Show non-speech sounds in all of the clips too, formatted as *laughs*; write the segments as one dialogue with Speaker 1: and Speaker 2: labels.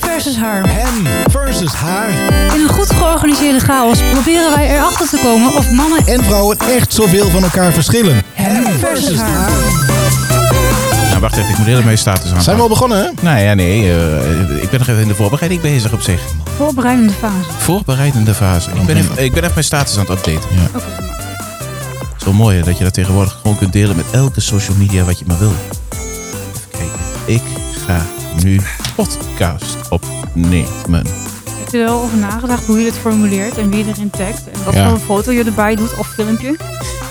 Speaker 1: versus haar.
Speaker 2: Hem versus haar.
Speaker 1: In een goed georganiseerde chaos proberen wij erachter te komen of mannen
Speaker 2: En vrouwen echt zoveel van elkaar verschillen.
Speaker 1: hem versus haar.
Speaker 3: Nou, wacht even, ik moet heel even mijn status aan.
Speaker 2: Zijn we al begonnen, hè?
Speaker 3: Nou ja, nee, eh, ik ben nog even in de voorbereiding bezig op zich.
Speaker 1: Voorbereidende fase.
Speaker 3: Voorbereidende fase. Ik ben even, ik ben even mijn status aan het updaten.
Speaker 2: Ja.
Speaker 3: Het is wel mooi hè, dat je dat tegenwoordig gewoon kunt delen met elke social media wat je maar wil. Even kijken. Ik ga nu podcast opnemen.
Speaker 1: Heb je er wel over nagedacht hoe je dit formuleert en wie erin tagt? En wat
Speaker 2: Ja.
Speaker 1: voor foto je erbij doet of filmpje?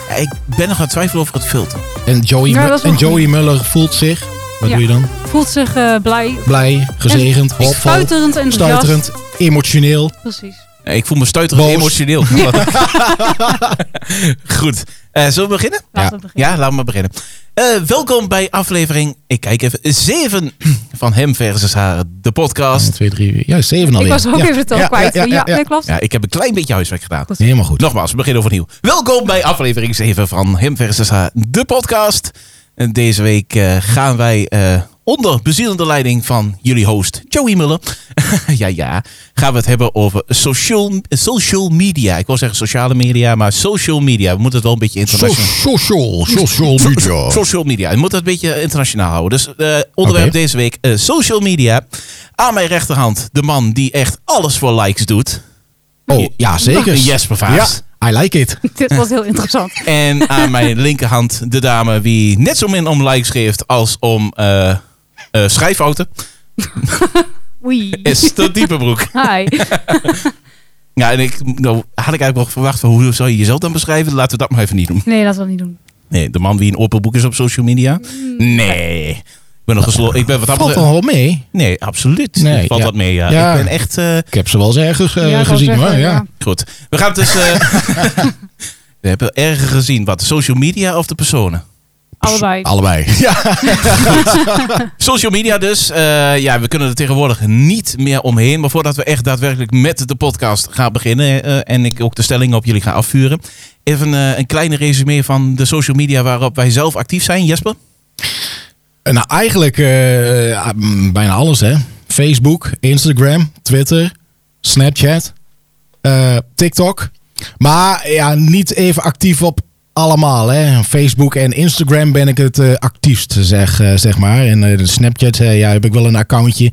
Speaker 3: Ja, ik ben nog aan het twijfelen over het filter.
Speaker 2: En Joey,
Speaker 1: Ja,
Speaker 2: Mu-
Speaker 1: dat is wel
Speaker 2: en
Speaker 1: goed.
Speaker 2: Joey Muller voelt zich. Wat
Speaker 1: Ja.
Speaker 2: doe je dan?
Speaker 1: Voelt zich eh, blij,
Speaker 2: Blij, gezegend, hoopvol,
Speaker 1: stuiterend en
Speaker 2: stuiterend, emotioneel.
Speaker 1: Precies.
Speaker 3: Nee, ik voel me stuiterend
Speaker 2: Boos.
Speaker 3: emotioneel. *laughs* Goed. Eh, zullen we beginnen?
Speaker 1: Laten
Speaker 2: Ja.
Speaker 1: we beginnen.
Speaker 3: Ja, laten we maar beginnen. Eh, welkom bij aflevering, ik kijk even, 7 van Hem versus Haar, de
Speaker 2: 1,
Speaker 3: podcast.
Speaker 2: 2, 3, 4. Ja, 7 alweer.
Speaker 1: Ik was ook
Speaker 2: Ja.
Speaker 1: even de tel
Speaker 2: Ja,
Speaker 1: kwijt.
Speaker 2: Ja,
Speaker 1: Ja,
Speaker 2: ja, ja, ja.
Speaker 1: nee, klopt.
Speaker 3: Ja, ik heb een klein beetje huiswerk gedaan.
Speaker 2: Helemaal goed.
Speaker 3: Nogmaals, we beginnen overnieuw. Welkom bij aflevering 7 van Hem versus Haar, de podcast. En deze week eh, gaan wij eh, onder bezielende leiding van jullie host Joey Muller. *laughs* ja, ja. Gaan we het hebben over social, social media. Ik wil zeggen sociale media, maar social media. We moeten het wel een beetje
Speaker 2: So-
Speaker 3: internationaal...
Speaker 2: Social, social media.
Speaker 3: Social media. Je moet dat een beetje internationaal houden. Dus eh, onderwerp
Speaker 2: Oké.
Speaker 3: deze week: eh, social media. Aan mijn rechterhand de man die echt alles voor likes doet.
Speaker 2: Oh, ja, zeker.
Speaker 3: Jesper Vaas.
Speaker 2: Ja, I like it.
Speaker 1: *laughs* Dit was heel interessant.
Speaker 3: En
Speaker 2: *laughs*
Speaker 3: aan mijn linkerhand de dame die net zo min om likes geeft als om eh, eh, schrijffouten.
Speaker 1: Oei.
Speaker 3: Esther Diepenbroek.
Speaker 1: Hi.
Speaker 3: Ja, en ik nou, had ik eigenlijk wel verwacht van hoe zou je jezelf dan beschrijven? Laten we dat maar even niet doen.
Speaker 1: Nee, laten we dat niet doen.
Speaker 3: Nee, de man wie een openboek is op social media. Nee. Ik ben nog gesloten. Ik ben wat dat
Speaker 2: Mm. Valt
Speaker 3: betreft-
Speaker 2: wel mee.
Speaker 3: Nee, absoluut.
Speaker 2: Nee,
Speaker 3: Valt
Speaker 2: ja.
Speaker 3: wat mee. Ja.
Speaker 2: Ja.
Speaker 3: Ik ben echt. eh,
Speaker 2: Ik heb ze wel eens ergens eh,
Speaker 1: Ja, ik wou
Speaker 2: gezien
Speaker 1: zeggen,
Speaker 2: hoor. Ja.
Speaker 1: ja.
Speaker 3: goed. We gaan het
Speaker 2: *laughs*
Speaker 3: dus. eh, *laughs* we hebben erger gezien. Wat? de Social media of de personen?
Speaker 1: Allebei.
Speaker 2: Allebei.
Speaker 3: Social media dus. Eh, ja, we kunnen er tegenwoordig niet meer omheen. Maar voordat we echt daadwerkelijk met de podcast gaan beginnen. eh, en ik ook de stellingen op jullie ga afvuren. Even eh, een kleine resume van de social media waarop wij zelf actief zijn. Jesper?
Speaker 2: Nou, eigenlijk eh, eh, mm, bijna alles, hè. Facebook, Instagram, Twitter, Snapchat, eh, TikTok. Maar ja, niet even actief op allemaal, hè. Facebook en Instagram ben ik het eh, actiefst, zeg, eh, zeg maar. En eh, de Snapchat, eh, ja, heb ik wel een accountje.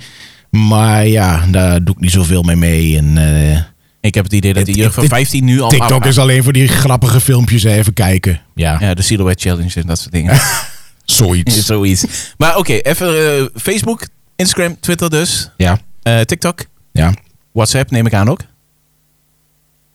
Speaker 2: Maar ja, daar doe ik niet zoveel mee mee. En, eh,
Speaker 3: Ik heb het idee dat de
Speaker 2: Ik-
Speaker 3: jeugd van
Speaker 2: ik-
Speaker 3: 15 nu al...
Speaker 2: TikTok is alleen voor die grappige filmpjes, hè, even kijken. Ja,
Speaker 3: Ja, de Silhouette Challenge en dat soort
Speaker 2: *laughs*
Speaker 3: dingen. *laughs*
Speaker 2: zoiets.
Speaker 3: Zoiets. Maar oké, even eh, Facebook, Instagram, Twitter dus.
Speaker 2: Ja,
Speaker 3: Eh, TikTok,
Speaker 2: ja.
Speaker 3: WhatsApp neem ik aan ook.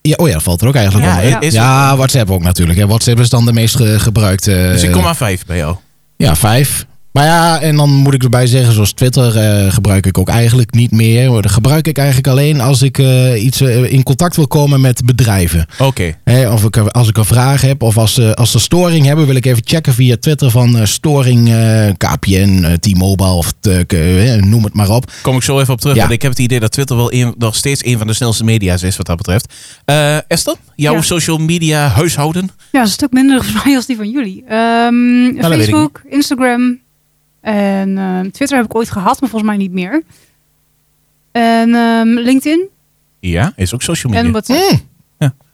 Speaker 2: Ja, oh ja, dat valt er ook eigenlijk
Speaker 1: Ja,
Speaker 2: onder.
Speaker 1: ja.
Speaker 3: Is-
Speaker 2: ja, WhatsApp ook natuurlijk. Hè. WhatsApp is dan de meest ge- gebruikte.
Speaker 3: Dus ik kom
Speaker 2: eh,
Speaker 3: aan vijf bij jou.
Speaker 2: Ja, vijf. Maar ja, en dan moet ik erbij zeggen, zoals Twitter eh, gebruik ik ook eigenlijk niet meer. hoor. Dat gebruik ik eigenlijk alleen als ik eh, iets eh, in contact wil komen met bedrijven.
Speaker 3: Oké.
Speaker 2: Hè, of ik, als ik een vraag heb of als, ze als ze storing hebben, wil ik even checken via Twitter van eh, storing eh, KPN, eh, T-Mobile of te- k- eh, noem het maar op.
Speaker 3: Kom ik zo even op terug.
Speaker 2: Ja.
Speaker 3: Want ik heb het idee dat Twitter wel een- nog steeds een van de snelste media's is wat dat betreft. Eh, Esther, jouw
Speaker 1: Ja.
Speaker 3: social media huishouden?
Speaker 1: Ja, dat is een stuk minder *laughs* volgens mij als die van jullie. Ehm,
Speaker 3: dat weet ik
Speaker 1: Facebook, Instagram en ehm, Twitter heb ik ooit gehad, maar volgens mij niet meer. En ehm, LinkedIn
Speaker 3: Ja, is ook social media.
Speaker 1: en wat
Speaker 2: Mm,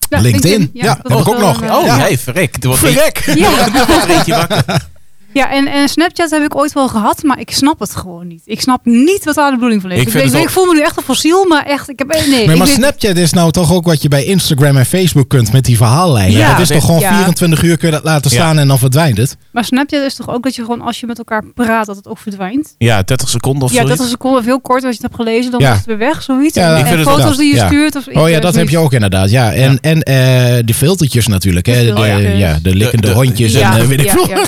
Speaker 2: LinkedIn. Ja,
Speaker 1: dat
Speaker 2: heb ik
Speaker 1: was
Speaker 2: ook
Speaker 1: wel
Speaker 2: nog.
Speaker 1: een, eh,
Speaker 3: Oh,
Speaker 2: Ja.
Speaker 3: nee, verrek. Er wordt
Speaker 2: verrek!
Speaker 1: *laughs* Ja,
Speaker 3: er wordt er eentje wakker.
Speaker 1: ja en, en Snapchat heb ik ooit wel gehad, maar ik snap het gewoon niet. Ik snap niet wat daar de bedoeling van is.
Speaker 3: Ik
Speaker 1: Ik,
Speaker 3: vind
Speaker 1: weet-
Speaker 3: het
Speaker 1: ik
Speaker 3: wel-
Speaker 1: voel me nu echt een fossiel, maar echt, ik heb... Nee,
Speaker 2: Nee,
Speaker 1: ik
Speaker 2: maar
Speaker 1: weet-
Speaker 2: Snapchat is nou toch ook wat je bij Instagram en Facebook kunt met die verhaallijnen.
Speaker 1: Ja.
Speaker 2: dat is toch gewoon
Speaker 1: Ja.
Speaker 2: 24 uur kun je dat laten
Speaker 3: Ja.
Speaker 2: staan en dan verdwijnt het.
Speaker 1: maar Snapchat is toch ook dat je gewoon als je met elkaar praat, dat het ook verdwijnt?
Speaker 3: Ja, 30 seconden of
Speaker 1: Ja,
Speaker 3: zo.
Speaker 1: dat is een call, veel korter als je het hebt gelezen, dan
Speaker 2: Ja.
Speaker 1: is het weer weg, zoiets.
Speaker 2: Ja,
Speaker 1: En-
Speaker 2: ik
Speaker 1: en
Speaker 3: vind het
Speaker 1: foto's
Speaker 2: inderdaad,
Speaker 1: die je
Speaker 2: ja.
Speaker 1: stuurt. Of, ik
Speaker 2: Oh ja,
Speaker 1: weet
Speaker 2: dat
Speaker 1: het
Speaker 2: heb je
Speaker 1: niet.
Speaker 2: ook inderdaad. Ja, en, en eh, de filtertjes natuurlijk. Hè.
Speaker 1: De
Speaker 2: De,
Speaker 1: filtertjes.
Speaker 2: ja, de likkende
Speaker 3: De- de-
Speaker 2: hondjes
Speaker 1: Ja,
Speaker 2: en eh, weet ik
Speaker 1: ja,
Speaker 2: veel
Speaker 1: ja,
Speaker 2: wat.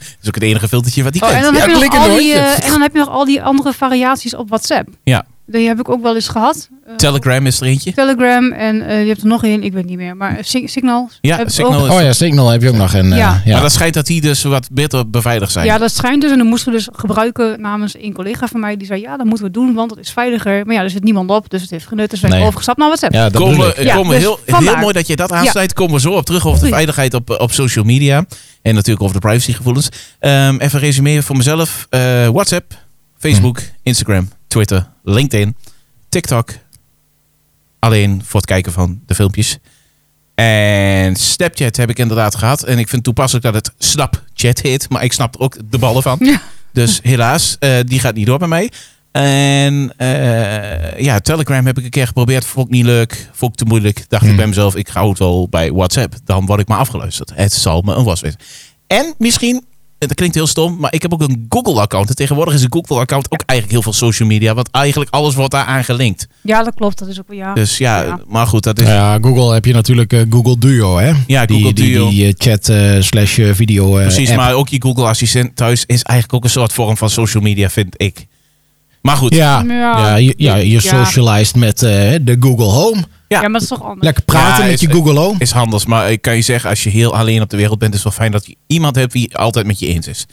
Speaker 3: Dat is ook het enige filtertje wat die
Speaker 2: Oh,
Speaker 3: kent.
Speaker 1: En dan,
Speaker 2: *laughs* Ja,
Speaker 1: heb je nog
Speaker 2: klikken
Speaker 1: al
Speaker 2: door.
Speaker 1: die, eh, en dan heb je nog al die andere variaties op WhatsApp.
Speaker 3: Ja.
Speaker 1: Die heb ik ook wel eens gehad. Eh,
Speaker 3: Telegram is er eentje.
Speaker 1: Telegram en eh, je hebt er nog één, ik weet niet meer. Maar eh, Sig- Signal.
Speaker 3: Ja,
Speaker 1: heb ik
Speaker 3: Signal.
Speaker 1: ook.
Speaker 2: Oh ja, Signal heb je ook nog. En, eh,
Speaker 1: Ja.
Speaker 2: ja.
Speaker 3: Maar dat schijnt dat die dus wat beter beveiligd zijn.
Speaker 1: Ja, dat schijnt dus. En dan moesten we dus gebruiken namens een collega van mij. Die zei, ja, dat moeten we doen, want dat is veiliger. Maar ja, er zit niemand op, dus het heeft genut. Dus we zijn
Speaker 2: Nee.
Speaker 1: overgestapt naar WhatsApp.
Speaker 2: Ja, dat
Speaker 3: komen,
Speaker 2: bedoel
Speaker 3: we-
Speaker 2: ik.
Speaker 1: Ja,
Speaker 3: komen
Speaker 1: dus
Speaker 3: heel, heel
Speaker 1: vandaar.
Speaker 3: mooi dat je dat aansluit. Komen we zo op terug over de
Speaker 1: Oei.
Speaker 3: veiligheid op, op social media. En natuurlijk over de privacygevoelens. Ehm,
Speaker 2: Hm.
Speaker 3: even resumeren voor mezelf. Eh, WhatsApp, Facebook, Instagram, Twitter, LinkedIn. TikTok. Alleen voor het kijken van de filmpjes. En Snapchat heb ik inderdaad gehad. En ik vind toepasselijk dat het Snapchat heet. Maar ik snap er ook de ballen van.
Speaker 1: Ja.
Speaker 3: Dus helaas, eh, die gaat niet door bij mij. En eh, ja, Telegram heb ik een keer geprobeerd. Vond ik niet leuk. Vond ik te moeilijk. Dacht
Speaker 2: Hmm.
Speaker 3: ik bij mezelf, ik hou het wel bij WhatsApp. Dan word ik maar afgeluisterd. Het zal me een was weer. En misschien, dat klinkt heel stom, maar ik heb ook een Google-account. En tegenwoordig is een Google-account ook eigenlijk heel veel social media. Want eigenlijk alles wordt daaraan gelinkt.
Speaker 1: *laughs* Ja, dat klopt. Dat is ook wel ja.
Speaker 3: Dus ja,
Speaker 1: Ah, Ja.
Speaker 3: maar goed, dat is...
Speaker 2: Nou ja, Google heb je natuurlijk eh, Google Duo, hè?
Speaker 3: Ja,
Speaker 2: die,
Speaker 3: Google
Speaker 2: die,
Speaker 3: Duo.
Speaker 2: Die, eh, chat eh, slash eh, video eh,
Speaker 3: Precies,
Speaker 2: app.
Speaker 3: maar ook je Google Assistent thuis is eigenlijk ook een soort vorm van social media, vind ik. Maar goed,
Speaker 2: Ja,
Speaker 1: Ja.
Speaker 2: ja, je, ja, je
Speaker 1: Ja.
Speaker 2: socialized met eh, de Google Home.
Speaker 1: ja, maar dat is toch anders.
Speaker 2: Lekker praten
Speaker 3: Ja,
Speaker 2: met
Speaker 3: is-
Speaker 2: je Google Home.
Speaker 3: is handels. Maar ik kan je zeggen, als je heel alleen op de wereld bent, is het wel fijn dat je iemand hebt die altijd met je eens is.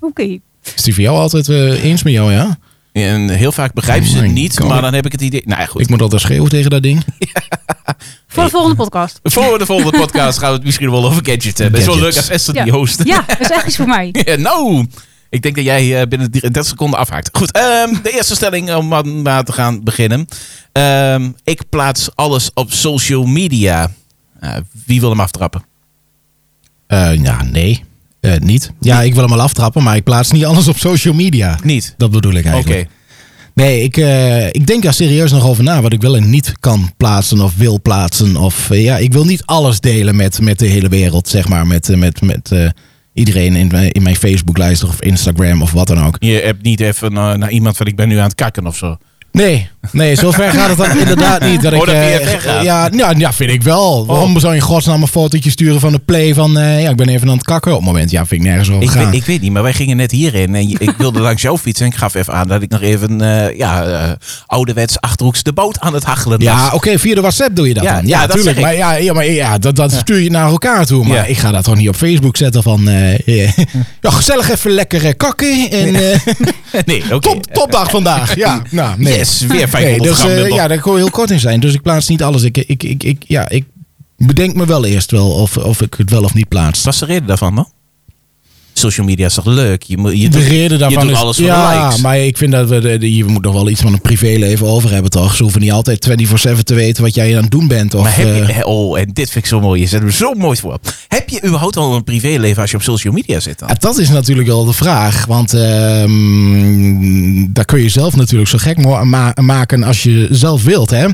Speaker 1: Oké.
Speaker 2: Is die voor jou altijd eh, eens met jou, ja?
Speaker 3: En heel vaak begrijpen ze
Speaker 2: Oh my
Speaker 3: het niet,
Speaker 2: God.
Speaker 3: maar dan heb ik het idee... Nou ja, goed.
Speaker 2: Ik moet altijd schreeuwen tegen dat ding.
Speaker 1: Voor de volgende podcast.
Speaker 3: Voor de volgende podcast gaan we het misschien wel over gadgets hebben. Het is wel leuk als
Speaker 2: Gadgets.
Speaker 3: Esther
Speaker 1: Ja.
Speaker 3: die host.
Speaker 1: Ja, dat is echt iets voor mij.
Speaker 3: *laughs* Ja, nou, ik denk dat jij eh, binnen 30 seconden afhaakt. Goed, ehm, de eerste stelling om maar- maar te gaan beginnen. Ehm, ik plaats alles op social media. Eh, wie wil hem aftrappen?
Speaker 2: Eh, ja, nee. Eh, niet. Ja, ik wil hem al aftrappen, maar ik plaats niet alles op social media.
Speaker 3: Niet.
Speaker 2: Dat bedoel ik
Speaker 3: Oké.
Speaker 2: eigenlijk. Nee, ik, eh, ik denk daar serieus nog over na. Wat ik wel en niet kan plaatsen of wil plaatsen. Of eh, ja, ik wil niet alles delen met, met de hele wereld, zeg maar. Met, eh, met, met eh, iedereen in, mijn- in mijn Facebook-lijst of Instagram of wat dan ook.
Speaker 3: Je hebt niet even eh, naar iemand van ik ben nu aan het kakken of zo.
Speaker 2: Nee, nee, zover gaat het dan inderdaad niet. Dat
Speaker 3: Oh,
Speaker 2: ik,
Speaker 3: dat die
Speaker 2: eh,
Speaker 3: echt weggaat.
Speaker 2: ja, ja, ja, vind ik wel. Waarom zou je in godsnaam een fotootje sturen van de play van... eh, ja, ik ben even aan het kakken op het moment. Ja, vind ik nergens over
Speaker 3: Ik
Speaker 2: gaan.
Speaker 3: weet, ik weet niet, maar wij gingen net hierin en je- ik wilde langs jouw fiets en ik gaf even aan dat ik nog even eh, ja, eh, ouderwets Achterhoeks de boot aan het hachelen was.
Speaker 2: Ja, oké, via de WhatsApp doe je dat
Speaker 3: Ja,
Speaker 2: dan.
Speaker 3: ja,
Speaker 2: Ja,
Speaker 3: dat
Speaker 2: natuurlijk.
Speaker 3: zeg
Speaker 2: Maar
Speaker 3: ik.
Speaker 2: ja, ja, maar ja, dat, dat stuur je naar elkaar toe. Maar
Speaker 3: Ja.
Speaker 2: ik ga dat toch niet op Facebook zetten van... eh, eh, ja, gezellig even lekker eh, kakken. En eh, *laughs*
Speaker 3: Nee, *laughs* oké.
Speaker 2: top, topdag vandaag.
Speaker 3: *laughs*
Speaker 2: Ja, nou, nee.
Speaker 3: Yes, weer 500
Speaker 2: Nee, dus,
Speaker 3: gram
Speaker 2: eh,
Speaker 3: bundel.
Speaker 2: ja, daar kon je heel kort in zijn. Dus ik plaats niet alles. Ik, ik, ik, ik, ja, ik bedenk me wel eerst wel of, of ik het wel of niet plaats.
Speaker 3: Wat is de reden daarvan dan? Social media is toch leuk? Je, moet- je
Speaker 2: de
Speaker 3: doet-
Speaker 2: reden daarvan
Speaker 3: doet
Speaker 2: is...
Speaker 3: alles voor de
Speaker 2: ja,
Speaker 3: likes.
Speaker 2: maar ik vind dat we... de- de- Je moet nog wel iets van een privéleven over hebben, toch? Ze hoeven niet altijd 24-7 te weten wat jij aan het doen bent. Of,
Speaker 3: maar heb
Speaker 2: eh,
Speaker 3: je, hè, oh, en dit vind ik zo mooi. Je zet hem zo mooi voor. Heb je überhaupt al een privéleven als je op social media zit dan?
Speaker 2: Ja, dat is natuurlijk wel de vraag. Want ehm, daar kun je zelf natuurlijk zo gek mo- ma- maken als je zelf wilt. Hè?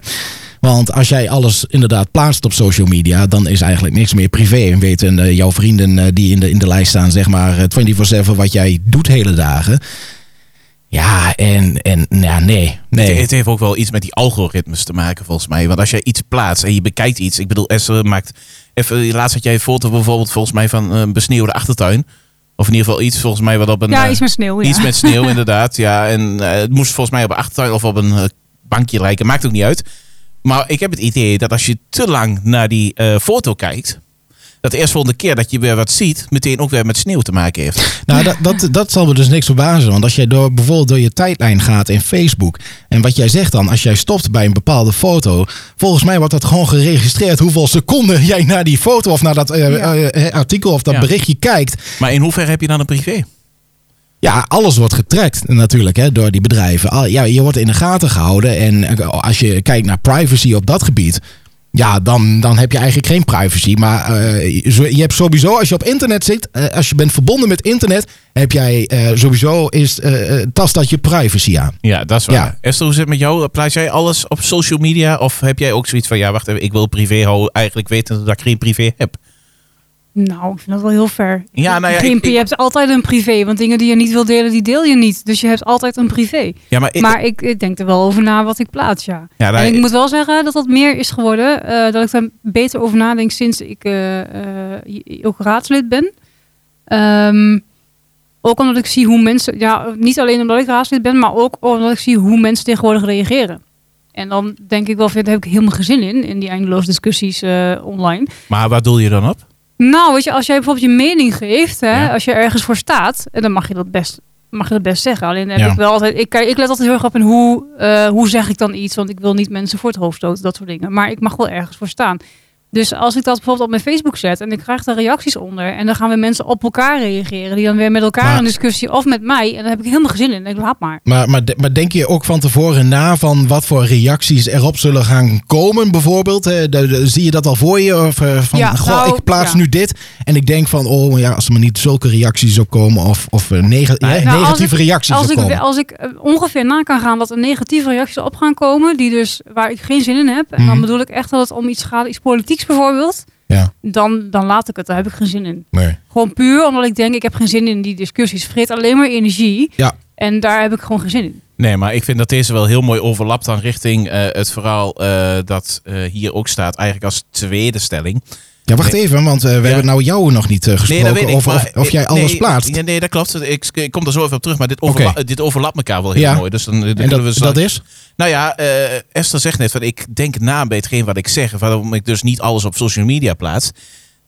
Speaker 2: Want als jij alles inderdaad plaatst op social media, dan is eigenlijk niks meer privé. En weten eh, jouw vrienden eh, die in de, in de lijst staan, zeg maar, eh, 24-7 wat jij doet hele dagen. Ja, en, en ja, nee.
Speaker 3: Het,
Speaker 2: nee.
Speaker 3: het heeft ook wel iets met die algoritmes te maken volgens mij. Want als jij iets plaatst en je bekijkt iets. Ik bedoel, Esther maakt... Even, laatst had jij een foto bijvoorbeeld volgens mij van een besneeuwde achtertuin. Of in ieder geval iets volgens mij wat op een...
Speaker 1: Ja,
Speaker 3: eh,
Speaker 1: iets met sneeuw. Ja.
Speaker 3: Iets met sneeuw, inderdaad. Ja, en eh, het moest volgens mij op een achtertuin of op een eh, bankje lijken. Maakt ook niet uit. Maar ik heb het idee dat als je te lang naar die eh, foto kijkt. Dat de eerstvolgende keer dat je weer wat ziet, meteen ook weer met sneeuw te maken heeft.
Speaker 2: Nou, dat, dat, dat zal me dus niks verbazen. Want als jij door, bijvoorbeeld door je tijdlijn gaat in Facebook. En wat jij zegt dan, als jij stopt bij een bepaalde foto. Volgens mij wordt dat gewoon geregistreerd. Hoeveel seconden *laughs* jij naar die foto of naar dat eh,
Speaker 1: Ja.
Speaker 2: eh, eh, artikel of dat
Speaker 3: Ja.
Speaker 2: berichtje kijkt.
Speaker 3: Maar in hoeverre heb je dan een privé?
Speaker 2: Ja, alles wordt getrackt natuurlijk hè, door die bedrijven. Al- Ja, je wordt in de gaten gehouden. En eh, als je kijkt naar privacy op dat gebied. Ja, dan, dan heb je eigenlijk geen privacy. Maar eh, zo- je hebt sowieso, als je op internet zit, eh, als je bent verbonden met internet, heb jij eh, sowieso is, eh, eh, tast dat je privacy aan.
Speaker 3: Ja, dat is
Speaker 2: waar.
Speaker 3: Esther, hoe zit het met jou? Plaats jij alles op social media? Of heb jij ook zoiets van, ja, wacht even, ik wil privé houden. Eigenlijk weten dat ik geen privé heb.
Speaker 1: Nou, ik vind dat wel heel ver.
Speaker 3: Ja, nou ja,
Speaker 1: Geen-
Speaker 3: ik- ik-
Speaker 1: je hebt altijd een privé, want dingen die je niet wil delen, die deel je niet. Dus je hebt altijd een privé.
Speaker 3: Ja, maar, ik-
Speaker 1: maar ik, ik denk er wel over na wat ik plaats, ja.
Speaker 3: ja, nou,
Speaker 1: en ik, moet wel zeggen dat dat meer is geworden. eh, dat ik daar beter over nadenk sinds ik eh, eh, j- ook raadslid ben. Ehm, ook omdat ik zie hoe mensen... Ja, niet alleen omdat ik raadslid ben, maar ook omdat ik zie hoe mensen tegenwoordig reageren. En dan denk ik wel, van, daar heb ik helemaal geen zin in, in die eindeloze discussies eh, online.
Speaker 3: maar waar doel je dan op?
Speaker 1: Nou, weet je, als jij bijvoorbeeld je mening geeft, hè,
Speaker 3: Ja.
Speaker 1: als je ergens voor staat, en dan mag je dat best, mag je dat best zeggen. Alleen heb
Speaker 2: Ja.
Speaker 1: ik wel altijd, ik, kijk- ik let altijd heel erg op in hoe, eh, hoe zeg ik dan iets, want ik wil niet mensen voor het hoofd stoten, dat soort dingen. Maar ik mag wel ergens voor staan. Dus als ik dat bijvoorbeeld op mijn Facebook zet en ik krijg daar reacties onder. En dan gaan weer mensen op elkaar reageren. Die dan weer met elkaar
Speaker 2: Maar-
Speaker 1: een discussie of met mij. En daar heb ik helemaal geen zin in. Ik denk, laat maar.
Speaker 2: Maar, maar, de- maar denk je ook van tevoren na van wat voor reacties erop zullen gaan komen bijvoorbeeld? Eh, de- de- zie je dat al voor je? Of eh, van,
Speaker 1: Ja,
Speaker 2: goh,
Speaker 1: nou,
Speaker 2: ik plaats
Speaker 1: ja.
Speaker 2: nu dit. En ik denk van, oh ja, als er maar niet zulke reacties op komen. Of, of eh, neg- eh,
Speaker 1: Nou, als
Speaker 2: negatieve
Speaker 1: ik-
Speaker 2: reacties
Speaker 1: Als
Speaker 2: op
Speaker 1: ik,
Speaker 2: komen.
Speaker 1: als ik eh, ongeveer na kan gaan dat er negatieve reacties op gaan komen, die dus, waar ik geen zin in heb, en
Speaker 2: Mhm.
Speaker 1: dan bedoel ik echt dat het om iets gaat, iets politieks bijvoorbeeld,
Speaker 2: Ja,
Speaker 1: dan, dan laat ik het, daar heb ik geen zin in.
Speaker 2: nee.
Speaker 1: Gewoon puur omdat ik denk, ik heb geen zin in die discussies. Vreet alleen maar energie.
Speaker 2: Ja.
Speaker 1: En daar heb ik gewoon geen zin in.
Speaker 3: Nee, maar ik vind dat deze wel heel mooi overlapt dan richting eh, het verhaal eh, dat eh, hier ook staat. Eigenlijk als tweede stelling.
Speaker 2: ja wacht
Speaker 3: Nee.
Speaker 2: even, want eh, we
Speaker 3: Ja.
Speaker 2: hebben nou jou nog niet eh,
Speaker 3: Nee,
Speaker 2: gesproken.
Speaker 3: dat weet ik.
Speaker 2: of, of,
Speaker 3: maar-
Speaker 2: of jij alles
Speaker 3: nee,
Speaker 2: plaatst.
Speaker 3: Nee, nee, dat klopt. Ik, ik kom daar zo even op terug. Maar dit,
Speaker 2: Oké.
Speaker 3: overla- eh, dit overlapt elkaar wel heel
Speaker 2: Ja.
Speaker 3: mooi. Dus dan, eh, dan
Speaker 2: en
Speaker 3: kunnen we
Speaker 2: dat,
Speaker 3: zo-
Speaker 2: dat is?
Speaker 3: Nou ja, eh, Esther zegt net van ik denk na bij hetgeen wat ik zeg. Waarom ik dus niet alles op social media plaats.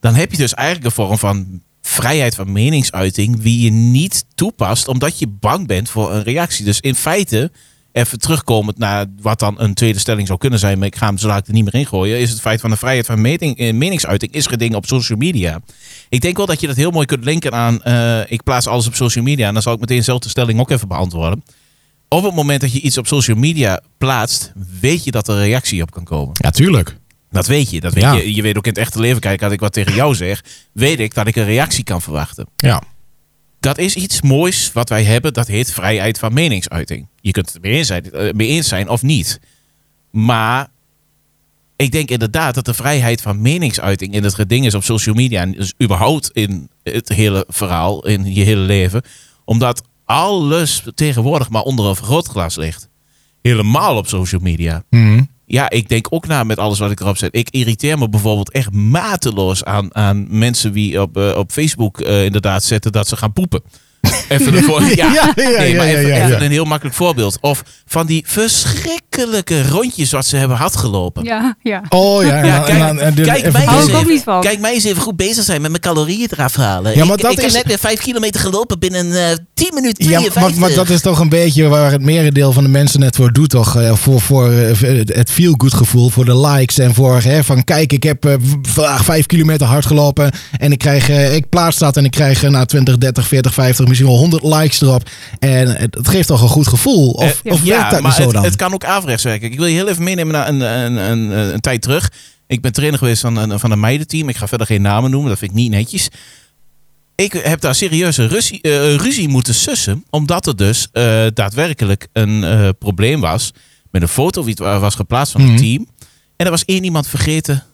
Speaker 3: Dan heb je dus eigenlijk een vorm van vrijheid van meningsuiting. Die je niet toepast omdat je bang bent voor een reactie. Dus in feite, even terugkomend naar wat dan een tweede stelling zou kunnen zijn. Maar ik ga hem zo dadelijk er niet meer in gooien. Is het feit van de vrijheid van meting- eh, meningsuiting is geding op social media. Ik denk wel dat je dat heel mooi kunt linken aan eh, ik plaats alles op social media. En dan zal ik meteen zelf de stelling ook even beantwoorden op het moment dat je iets op social media plaatst, weet je dat er reactie op kan komen.
Speaker 2: Ja, tuurlijk.
Speaker 3: Dat weet je. Dat weet
Speaker 2: Ja.
Speaker 3: je. je weet ook in het echte leven, kijk, als ik wat tegen jou zeg, weet ik dat ik een reactie kan verwachten.
Speaker 2: Ja.
Speaker 3: Dat is iets moois wat wij hebben, dat heet vrijheid van meningsuiting. Je kunt het ermee eens zijn, eh, mee eens zijn of niet. Maar ik denk inderdaad dat de vrijheid van meningsuiting in het geding is op social media. En dus überhaupt in het hele verhaal, in je hele leven. Omdat alles tegenwoordig maar onder een vergrootglas ligt. Helemaal op social media.
Speaker 2: Mhm.
Speaker 3: Ja, ik denk ook na met alles wat ik erop zet. Ik irriteer me bijvoorbeeld echt mateloos aan, aan mensen die op, eh, op Facebook eh, inderdaad zetten dat ze gaan
Speaker 2: *laughs*
Speaker 3: poepen. Even een, voor, ja,
Speaker 2: Ja, ja,
Speaker 3: nee,
Speaker 2: ja,
Speaker 3: maar
Speaker 2: ja,
Speaker 3: even,
Speaker 2: ja,
Speaker 3: even
Speaker 2: ja.
Speaker 3: een heel makkelijk voorbeeld. Of van die verschrikkelijke rondjes wat ze hebben had gelopen.
Speaker 1: Ja, ja.
Speaker 2: Oh ja, en
Speaker 3: Ja,
Speaker 2: dan-
Speaker 3: kijk-
Speaker 2: en dan- en dan-
Speaker 3: kijk
Speaker 2: even
Speaker 3: mij
Speaker 2: voor-
Speaker 1: Hou
Speaker 3: is
Speaker 1: ik ook
Speaker 3: even-
Speaker 1: niet van.
Speaker 3: Kijk mij eens even goed bezig zijn met mijn calorieën eraf halen.
Speaker 2: Ja, maar
Speaker 3: ik
Speaker 2: dat
Speaker 3: ik heb
Speaker 2: is-
Speaker 3: net weer 5 kilometer gelopen binnen eh 10 minuten
Speaker 2: Ja,
Speaker 3: 52.
Speaker 2: maar, maar dat is toch een beetje waar het merendeel van de mensen net voor doet, toch? Eh, Voor, voor eh, het feel-good gevoel, voor de likes en voor hè, van kijk, ik heb eh, v- vandaag vijf kilometer hard gelopen en ik, krijg, eh, ik plaats dat en ik krijg eh, na 20, 30, 40, 50, misschien wel 100 likes erop. En het, het geeft toch een goed gevoel? Of,
Speaker 3: Eh,
Speaker 2: of werkt dat
Speaker 3: maar
Speaker 2: niet zo
Speaker 3: het,
Speaker 2: dan?
Speaker 3: het kan ook averechts werken. Ik wil je heel even meenemen naar een, een, een, een, een tijd terug. Ik ben trainer geweest van een, van een meidenteam. Ik ga verder geen namen noemen, dat vind ik niet netjes. Ik heb daar serieus een ruzie, eh, ruzie moeten sussen. Omdat er dus eh, daadwerkelijk een eh, probleem was. Met een foto die wa- was geplaatst van
Speaker 2: Mhm.
Speaker 3: het team. En er was één iemand vergeten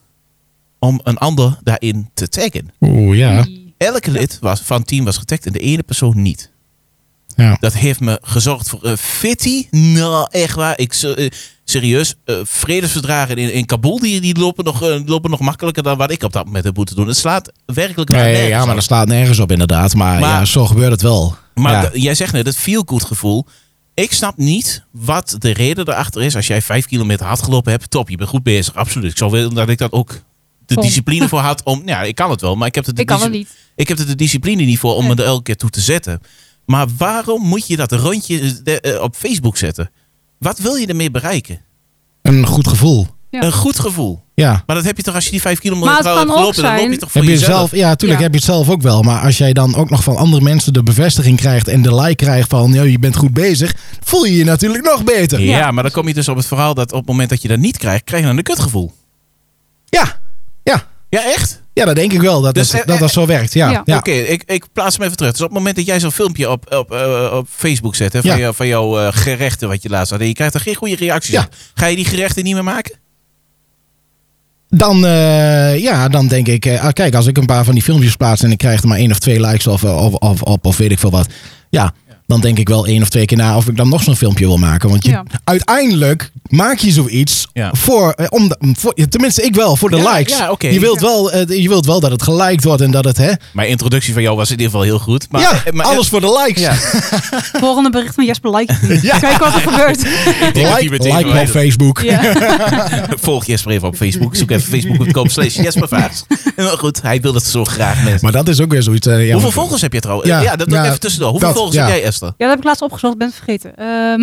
Speaker 3: om een ander daarin te taggen.
Speaker 2: Oeh,
Speaker 3: Mm. Elke lid was, van het team was getagd en de ene persoon niet.
Speaker 2: ja.
Speaker 3: Dat heeft me gezorgd voor een fitty. Nou, echt waar. Ik, se- eh, serieus, eh, vredesverdragen in, in Kabul die, die lopen, nog, eh, lopen nog makkelijker dan wat ik op dat moment heb moeten doen. Het slaat werkelijk waar
Speaker 2: Nee,
Speaker 3: nergens
Speaker 2: ja, maar
Speaker 3: op.
Speaker 2: dat slaat nergens op inderdaad. Maar,
Speaker 3: Maar-
Speaker 2: ja, zo gebeurt het wel.
Speaker 3: Maar
Speaker 2: Ja.
Speaker 3: d- jij zegt net, het feel-good gevoel. Ik snap niet wat de reden daarachter is. Als jij vijf kilometer hard gelopen hebt, top, je bent goed bezig. Absoluut. Ik zou willen dat ik dat ook de
Speaker 1: Kon.
Speaker 3: discipline voor had om... Ja, ik kan het wel, maar ik heb het
Speaker 1: Ik kan het niet.
Speaker 3: ik heb er de discipline niet voor om
Speaker 1: Nee.
Speaker 3: me er elke keer toe te zetten. Maar waarom moet je dat rondje eh, eh, op Facebook zetten? Wat wil je ermee bereiken?
Speaker 2: Een goed gevoel.
Speaker 1: Ja.
Speaker 3: Een goed gevoel.
Speaker 2: Ja.
Speaker 3: Maar dat heb je toch als je die vijf kilometer
Speaker 1: Maar het
Speaker 3: hebt
Speaker 1: kan ook
Speaker 3: gelopen, dan loop je
Speaker 1: zijn-
Speaker 3: toch voor
Speaker 2: Heb je
Speaker 3: jezelf.
Speaker 2: zelf, ja, tuurlijk
Speaker 1: Ja.
Speaker 2: heb je het zelf ook wel. Maar als jij dan ook nog van andere mensen de bevestiging krijgt en de like krijgt van "Yo, je bent goed bezig, voel je je natuurlijk nog beter.
Speaker 3: Ja,
Speaker 1: Ja.
Speaker 3: maar dan kom je dus op het verhaal dat op het moment dat je dat niet krijgt, krijg je dan een kutgevoel.
Speaker 2: Ja, ja,
Speaker 3: Ja, echt?
Speaker 2: ja dat denk ik wel, dat
Speaker 3: Dus,
Speaker 2: dat,
Speaker 3: eh,
Speaker 2: dat, dat zo werkt. Ja, ja.
Speaker 1: ja.
Speaker 3: Oké, ik, ik plaats hem even terug. Dus op het moment dat jij zo'n filmpje op, op, eh, op Facebook zet hè, van,
Speaker 2: Ja.
Speaker 3: jou- van jouw eh, gerechten wat je laatst had en je krijgt er geen goede reacties
Speaker 2: Ja.
Speaker 3: op, ga je die gerechten niet meer maken?
Speaker 2: Dan, eh, ja, dan denk ik, eh, ah, kijk, als ik een paar van die filmpjes plaats en ik krijg er maar één of twee likes of, eh, of, of, of, of weet ik veel wat. Ja, dan denk ik wel één of twee keer na of ik dan nog zo'n filmpje wil maken. Want je,
Speaker 1: Ja.
Speaker 2: uiteindelijk maak je zoiets
Speaker 3: Ja.
Speaker 2: voor, eh, om, de- voor, tenminste ik wel, voor de
Speaker 3: Ja,
Speaker 2: likes.
Speaker 3: ja, oké.
Speaker 2: je, wilt wel, eh, je wilt wel dat het geliked wordt en dat het, hè,
Speaker 3: Mijn introductie van jou was in ieder geval heel goed. Maar,
Speaker 2: ja,
Speaker 3: eh, maar,
Speaker 2: alles voor de likes.
Speaker 3: Ja.
Speaker 1: Volgende bericht van Jasper *laughs* Like. Kijk wat er *laughs* gebeurt.
Speaker 3: denk dat
Speaker 2: Like,
Speaker 3: die meteen
Speaker 2: like me op
Speaker 3: verwijderd.
Speaker 2: Facebook.
Speaker 1: Ja.
Speaker 3: *laughs* Volg Jesper even op Facebook. Zoek even facebook.com slash Jesper Vaars. Maar goed, hij wil dat zo graag met.
Speaker 2: Maar dat is ook weer zoiets. eh, ja,
Speaker 3: Hoeveel
Speaker 2: want-
Speaker 3: volgers heb je trouwens?
Speaker 2: Ja,
Speaker 3: Ja, dat doe ik
Speaker 2: ja,
Speaker 3: even tussendoor. Hoeveel
Speaker 2: dat,
Speaker 3: volgers
Speaker 2: ja.
Speaker 3: heb jij, Esther?
Speaker 1: Ja, dat heb ik laatst opgezocht, ben het vergeten. Ehm,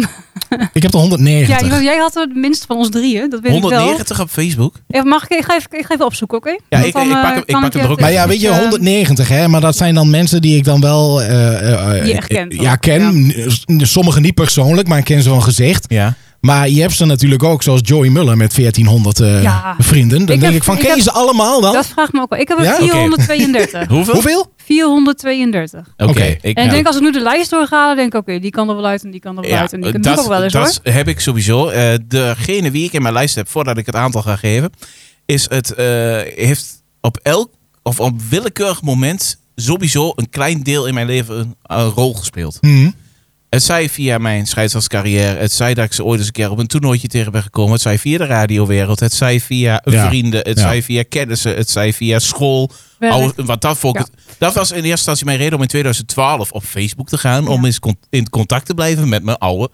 Speaker 2: Ik heb
Speaker 1: Ja, jij
Speaker 2: er 190.
Speaker 1: was- jij had het minst van ons drieën, dat weet ik wel.
Speaker 3: 190 op Facebook.
Speaker 1: Even, mag ik, ik, ga even, ik ga even opzoeken, oké?
Speaker 3: Ja,
Speaker 1: Want
Speaker 3: ik-
Speaker 1: dan,
Speaker 3: ik pak
Speaker 1: eh,
Speaker 3: hem- ik
Speaker 1: kan
Speaker 3: pak hem
Speaker 1: je
Speaker 3: er ook
Speaker 1: even-
Speaker 2: Maar ja, weet je,
Speaker 1: eh,
Speaker 2: 190 hè, maar dat zijn dan mensen die ik dan wel eh, eh, eh,
Speaker 1: Die je echt kent,
Speaker 2: ja,
Speaker 1: toch?
Speaker 2: ken. Sommigen niet persoonlijk, maar ik ken ze van gezicht.
Speaker 3: Ja.
Speaker 2: Maar je hebt ze natuurlijk ook, zoals Joey Muller met 1400 eh,
Speaker 1: Ja.
Speaker 2: vrienden. Dan
Speaker 1: Ik
Speaker 2: denk
Speaker 1: heb-
Speaker 2: ik van,
Speaker 1: ik
Speaker 2: ken je
Speaker 1: heb-
Speaker 2: ze allemaal dan?
Speaker 1: Dat vraagt me ook wel. Ik heb er
Speaker 2: Ja? Oké.
Speaker 1: 432. *laughs*
Speaker 3: Hoeveel?
Speaker 2: Hoeveel?
Speaker 1: 432.
Speaker 3: Oké.
Speaker 2: Oké.
Speaker 3: Ik,
Speaker 1: En ik
Speaker 3: ja.
Speaker 1: denk als ik nu de lijst doorga, dan denk ik, oké, die kan er wel uit en die kan er wel
Speaker 3: Ja,
Speaker 1: uit. En die kan
Speaker 3: dat,
Speaker 1: ook wel eens
Speaker 3: dat
Speaker 1: hoor.
Speaker 3: heb ik sowieso. Eh, degene wie ik in mijn lijst heb, voordat ik het aantal ga geven, is het, eh, heeft op elk of op willekeurig moment sowieso een klein deel in mijn leven een, een rol gespeeld.
Speaker 2: Hm.
Speaker 3: Het zij via mijn scheidsrechtscarrière, het zij dat ik ze ooit eens een keer op een toernooitje tegen ben gekomen, het zij via de radiowereld, het zij via
Speaker 2: Ja.
Speaker 3: vrienden, het
Speaker 2: Ja.
Speaker 3: zij via kennissen, het zij via school.
Speaker 1: Werk.
Speaker 3: Oude- want dat, vond ik
Speaker 1: Ja.
Speaker 3: het- dat was in eerste instantie mijn reden om in 2012 op Facebook te gaan. Om
Speaker 1: Ja.
Speaker 3: eens con- in contact te blijven met mijn oude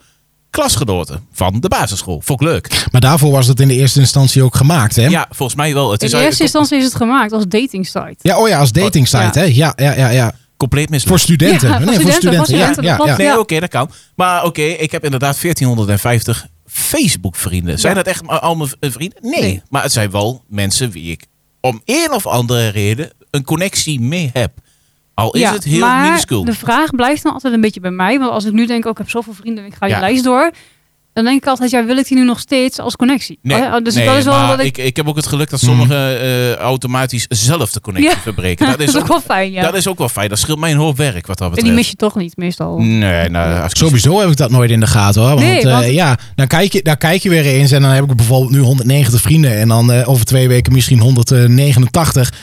Speaker 3: klasgenoten van de basisschool. Vond ik leuk.
Speaker 2: Maar daarvoor was het in de eerste instantie ook gemaakt, hè?
Speaker 3: Ja, volgens mij wel. Het
Speaker 1: In
Speaker 3: is
Speaker 1: eerste
Speaker 3: eigenlijk
Speaker 1: instantie is het gemaakt als datingsite.
Speaker 2: Ja, oh ja, als datingsite,
Speaker 1: Ja.
Speaker 2: hè? Ja, ja, ja, ja.
Speaker 3: compleet mislukt.
Speaker 2: Voor studenten.
Speaker 1: Ja, voor
Speaker 2: nee, voor
Speaker 1: studenten,
Speaker 2: studenten.
Speaker 1: voor studenten,
Speaker 2: ja,
Speaker 1: dat
Speaker 2: ja,
Speaker 1: klopt.
Speaker 2: ja.
Speaker 3: Nee,
Speaker 1: Ja.
Speaker 3: oké, dat kan. Maar oké, ik heb inderdaad 1450 Facebook-vrienden. Zijn
Speaker 1: Ja.
Speaker 3: dat echt maar al mijn v- eh, vrienden? Nee.
Speaker 1: Nee.
Speaker 3: Maar het zijn wel mensen wie ik om een of andere reden een connectie mee heb. Al is
Speaker 1: ja,
Speaker 3: het heel
Speaker 1: maar
Speaker 3: minuscuul.
Speaker 1: de vraag blijft dan altijd een beetje bij mij. Want als ik nu denk, oh, ik heb zoveel vrienden en ik ga die
Speaker 3: Ja.
Speaker 1: lijst door. Dan denk ik altijd, ja, wil ik die nu nog steeds als connectie?
Speaker 3: Nee,
Speaker 1: Oh, dus
Speaker 3: nee,
Speaker 1: dat is wel
Speaker 3: maar
Speaker 1: dat ik...
Speaker 3: ik... ik heb ook het geluk dat sommigen eh, automatisch zelf de connectie
Speaker 1: Ja. *laughs*
Speaker 3: verbreken. Dat is,
Speaker 1: dat is ook
Speaker 3: ook,
Speaker 1: wel fijn, ja.
Speaker 3: dat is ook wel fijn. Dat scheelt mij een hoop werk wat dat
Speaker 1: en
Speaker 3: betreft.
Speaker 1: die mis je toch niet meestal.
Speaker 3: Nee, nou, als ik-
Speaker 2: Sowieso heb ik dat nooit in de gaten hoor. Want,
Speaker 1: Nee,
Speaker 2: eh,
Speaker 1: want-
Speaker 2: ja, dan kijk, je, dan kijk je weer eens en dan heb ik bijvoorbeeld nu 190 vrienden. En dan eh, over twee weken misschien 189.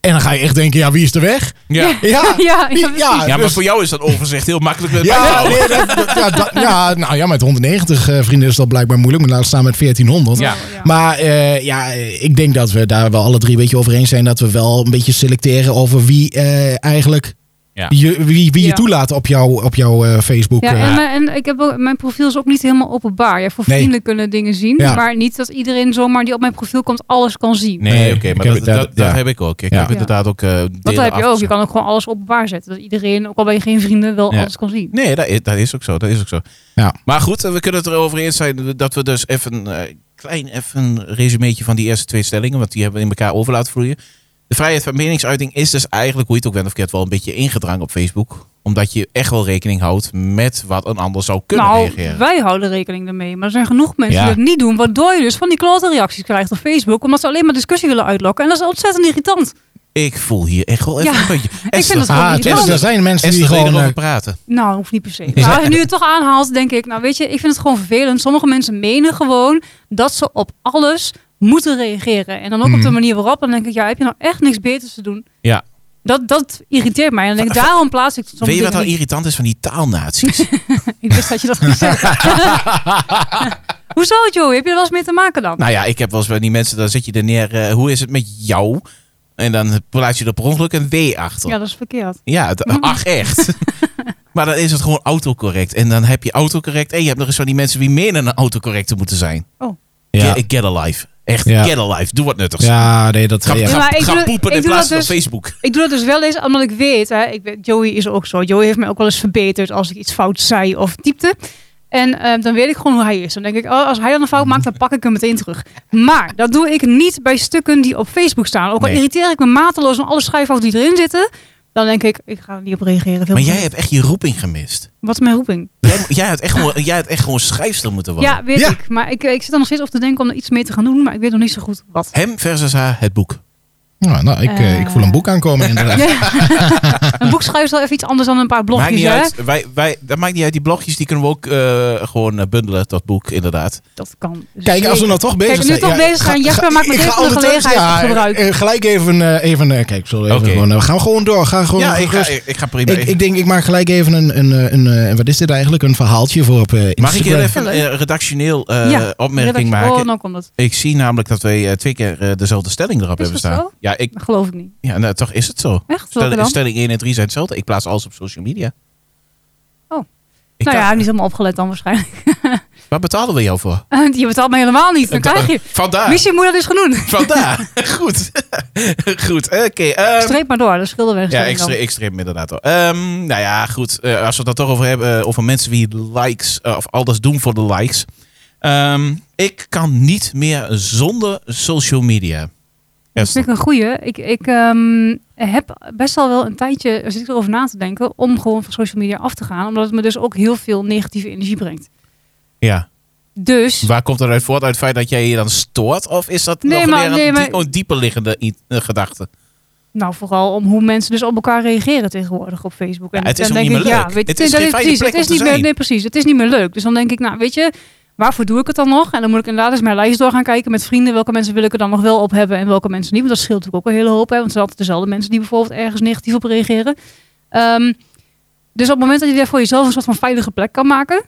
Speaker 2: En dan ga je echt denken, ja, wie is er
Speaker 1: *laughs*
Speaker 2: weg?
Speaker 3: Ja.
Speaker 2: Ja,
Speaker 1: ja,
Speaker 2: wie-
Speaker 1: ja,
Speaker 3: ja, maar
Speaker 2: dus-
Speaker 3: voor jou is dat overzicht heel makkelijk bij te
Speaker 2: ja,
Speaker 3: *laughs* houden.
Speaker 2: nee, dat- dat- ja, dat- ja, nou ja, met 190 eh, vrienden is dat blijkbaar moeilijk. Maar laat staan met 1400.
Speaker 3: Ja.
Speaker 2: Maar eh, ja, eh, ik denk dat we daar wel alle drie een beetje over eens zijn. Dat we wel een beetje selecteren over wie eh, eigenlijk
Speaker 3: Ja.
Speaker 2: je, wie, wie je
Speaker 1: Ja.
Speaker 2: toelaat op jouw op jouw eh, Facebook.
Speaker 1: Ja,
Speaker 2: eh.
Speaker 1: en, mijn- en ik heb ook, mijn profiel is ook niet helemaal openbaar. Ja, voor
Speaker 2: Nee.
Speaker 1: vrienden kunnen dingen zien.
Speaker 2: Ja.
Speaker 1: Maar niet dat iedereen zomaar die op mijn profiel komt alles kan zien.
Speaker 3: Nee,
Speaker 2: Nee,
Speaker 3: oké,
Speaker 2: ik
Speaker 3: maar
Speaker 2: heb-
Speaker 3: dat, dat,
Speaker 2: dat-
Speaker 3: dat
Speaker 2: ja.
Speaker 3: heb ik ook. Ik
Speaker 2: Ja.
Speaker 3: heb inderdaad ook eh
Speaker 1: Want
Speaker 3: delen
Speaker 1: dat heb je ook. Je
Speaker 3: afgezet.
Speaker 1: kan ook gewoon alles openbaar zetten. Dat iedereen, ook al ben je geen vrienden, wel
Speaker 3: Ja.
Speaker 1: alles kan zien.
Speaker 3: Nee, dat is, dat is ook zo. Dat is ook zo.
Speaker 2: Ja.
Speaker 3: Maar goed, eh, we kunnen het erover eens zijn dat we dus even eh, klein even een resumeetje van die eerste twee stellingen, want die hebben we in elkaar over laten vloeien. De vrijheid van meningsuiting is dus eigenlijk, hoe je het ook bent of keert, wel een beetje ingedrangen op Facebook. Omdat je echt wel rekening houdt met wat een ander zou kunnen
Speaker 1: nou,
Speaker 3: reageren.
Speaker 1: wij houden rekening daarmee. Maar er zijn genoeg mensen
Speaker 3: Ja.
Speaker 1: die dat niet doen. Waardoor je dus van die klote reacties krijgt op Facebook. Omdat ze alleen maar discussie willen uitlokken. En dat is ontzettend irritant.
Speaker 3: Ik voel hier echt wel even
Speaker 1: Ja, *laughs*
Speaker 3: een puntje.
Speaker 1: vind het
Speaker 3: Esther,
Speaker 1: gewoon
Speaker 2: Ah,
Speaker 1: niet
Speaker 2: dus er
Speaker 1: handig.
Speaker 2: zijn mensen die
Speaker 3: Esther wil je
Speaker 2: gewoon...
Speaker 3: erover
Speaker 2: eh,
Speaker 3: praten.
Speaker 1: Nou, hoeft niet per se. Maar als je nu het toch aanhaalt, denk ik, nou weet je, ik vind het gewoon vervelend. Sommige mensen menen gewoon dat ze op alles moeten reageren. En dan ook
Speaker 2: Mhm.
Speaker 1: op
Speaker 3: Hmm.
Speaker 1: de manier waarop. Dan denk ik, ja, heb je nou echt niks beters te doen?
Speaker 3: Ja.
Speaker 1: Dat, dat irriteert mij. En dan denk ik, daarom plaats ik soms
Speaker 3: Weet je nou wat nou
Speaker 1: dingen niet.
Speaker 3: irritant is van die taalnaties?
Speaker 1: *laughs* Ik wist dat je
Speaker 3: *laughs*
Speaker 1: dat ging zeggen. *laughs* Hoezo, Joey? Heb je er wel eens mee te maken dan?
Speaker 3: Nou ja, ik heb wel eens bij die mensen, dan zet je er neer, eh, hoe is het met jou? En dan plaats je er per ongeluk een W achter.
Speaker 1: ja,
Speaker 3: Ja,
Speaker 1: dat is verkeerd. *laughs*
Speaker 3: het- ach echt. *laughs* maar dan is het gewoon autocorrect. En dan heb je autocorrect. En je hebt nog eens van die mensen die menen een autocorrect te moeten zijn.
Speaker 2: ja.
Speaker 3: Get, get a life. Echt,
Speaker 2: Ja.
Speaker 3: get a life. Doe wat nuttigs.
Speaker 2: ja, nee, dat...
Speaker 3: Ga,
Speaker 2: ja.
Speaker 1: Ja,
Speaker 3: ga,
Speaker 1: maar ik
Speaker 3: ga
Speaker 1: doe-
Speaker 3: poepen
Speaker 1: ik
Speaker 3: in
Speaker 1: doe
Speaker 3: plaats van
Speaker 1: dat dus-
Speaker 3: Facebook.
Speaker 1: Ik doe dat dus wel eens, omdat ik weet, hè, ik weet, Joey is ook zo. Joey heeft mij ook wel eens verbeterd als ik iets fout zei of typte. En eh, dan weet ik gewoon hoe hij is. Dan denk ik, oh, als hij dan een fout maakt, dan pak ik hem meteen terug. Maar dat doe ik niet bij stukken die op Facebook staan. Ook al
Speaker 3: Nee.
Speaker 1: irriteer ik me mateloos aan alle schrijffouten die erin zitten. Dan denk ik, ik ga er niet op reageren. Veel
Speaker 3: Maar jij
Speaker 1: plezier.
Speaker 3: hebt echt je roeping gemist.
Speaker 1: Wat is mijn roeping?
Speaker 3: Jij, jij, had echt gewoon, jij had echt gewoon schrijfster moeten worden.
Speaker 1: Ja, weet
Speaker 2: Ja.
Speaker 1: ik. Maar ik, ik zit er nog steeds op te denken om er iets mee te gaan doen. Maar ik weet nog niet zo goed wat.
Speaker 3: Hem versus haar, het boek.
Speaker 2: Ja, nou, ik, eh, ik voel een boek aankomen inderdaad.
Speaker 1: *laughs* een boek schrijven is wel even iets anders dan een paar blogjes.
Speaker 3: maakt niet
Speaker 1: hè?
Speaker 3: uit. Wij, wij, dat maakt niet uit. Die blogjes die kunnen we ook eh, gewoon eh, bundelen tot boek, inderdaad.
Speaker 1: Dat kan.
Speaker 2: Kijk, als we
Speaker 1: zeker.
Speaker 2: nou toch bezig
Speaker 1: nu
Speaker 2: zijn.
Speaker 1: toch bezig zijn. Jesper maakt meteen van de
Speaker 2: altijd eerst-
Speaker 1: gelegenheid gebruik.
Speaker 2: eh, eh, Gelijk even, eh, even eh, kijk, zullen we even
Speaker 3: Oké.
Speaker 2: gewoon, eh, we gaan gewoon door. Ga gewoon
Speaker 3: Ja, ik ga,
Speaker 2: gerust.
Speaker 3: ik ga prima.
Speaker 2: ik,
Speaker 3: Ik-
Speaker 2: ik denk, ik maak gelijk even een, een, eh, een, eh, wat is dit eigenlijk, een verhaaltje voor op eh, Instagram.
Speaker 3: Mag ik hier even een eh, redactioneel eh,
Speaker 1: Ja,
Speaker 3: opmerking
Speaker 1: Redactie-
Speaker 3: maken?
Speaker 1: Oh, dan komt het.
Speaker 3: Ik zie namelijk dat wij eh, twee keer eh, dezelfde stelling erop
Speaker 1: Is
Speaker 3: hebben
Speaker 1: dat
Speaker 3: staan.
Speaker 1: zo?
Speaker 3: Ja, ik,
Speaker 1: Dat geloof ik niet.
Speaker 3: ja nou, toch is het zo.
Speaker 1: Echt? Welke
Speaker 3: Stelling,
Speaker 1: dan?
Speaker 3: stelling 1 en 3 zijn hetzelfde. Ik plaats alles op social media.
Speaker 1: Oh.
Speaker 3: Ik
Speaker 1: nou ja,
Speaker 3: kan-
Speaker 1: hij heeft niet helemaal opgelet dan waarschijnlijk. *laughs*
Speaker 3: Waar betalen we jou voor?
Speaker 1: je betaalt me helemaal niet. Dan krijg je.
Speaker 3: Vandaar.
Speaker 1: Misschien moet dat eens genoemd. *laughs*
Speaker 3: Vandaar. Goed. *laughs* Goed. Oké. ehm,
Speaker 1: Streep maar door, dat scheelde weg.
Speaker 3: ja, ik streep, ik streep hem inderdaad al. Ehm, nou ja, goed. eh, als we het daar toch over hebben, eh, over mensen die likes, eh, of alles doen voor de likes. Ehm, ik kan niet meer zonder social media.
Speaker 1: Dat *laughs* is natuurlijk een goeie. Ik, ik ehm, heb best al wel een tijdje, er zit ik erover na te denken, om gewoon van social media af te gaan. Omdat het me dus ook heel veel negatieve energie brengt.
Speaker 3: Ja.
Speaker 1: Dus,
Speaker 3: Waar komt dat uit voort? Uit het feit dat jij je dan stoort? Of is dat
Speaker 1: Nee,
Speaker 3: nog
Speaker 1: maar-
Speaker 3: weer een
Speaker 1: nee,
Speaker 3: die-
Speaker 1: maar-
Speaker 3: een dieper liggende i- eh, gedachte?
Speaker 1: nou vooral om hoe mensen dus op elkaar reageren tegenwoordig op Facebook. En
Speaker 3: Ja, het is
Speaker 1: dan
Speaker 3: ook
Speaker 1: denk
Speaker 3: niet
Speaker 1: ik,
Speaker 3: meer
Speaker 1: ja,
Speaker 3: leuk.
Speaker 1: weet je,
Speaker 3: Het is
Speaker 1: dat
Speaker 3: geen fijne
Speaker 1: precies,
Speaker 3: plek
Speaker 1: het is
Speaker 3: om te
Speaker 1: niet meer,
Speaker 3: zijn.
Speaker 1: Nee, precies. Het is niet meer leuk. Dus dan denk ik, nou weet je, waarvoor doe ik het dan nog? En dan moet ik inderdaad eens mijn lijst door gaan kijken met vrienden. Welke mensen wil ik er dan nog wel op hebben en welke mensen niet. Want dat scheelt natuurlijk ook een hele hoop. Hè, want het zijn altijd dezelfde mensen die bijvoorbeeld ergens negatief op reageren. Ehm, dus op het moment dat je daar voor jezelf een soort van veilige plek kan maken.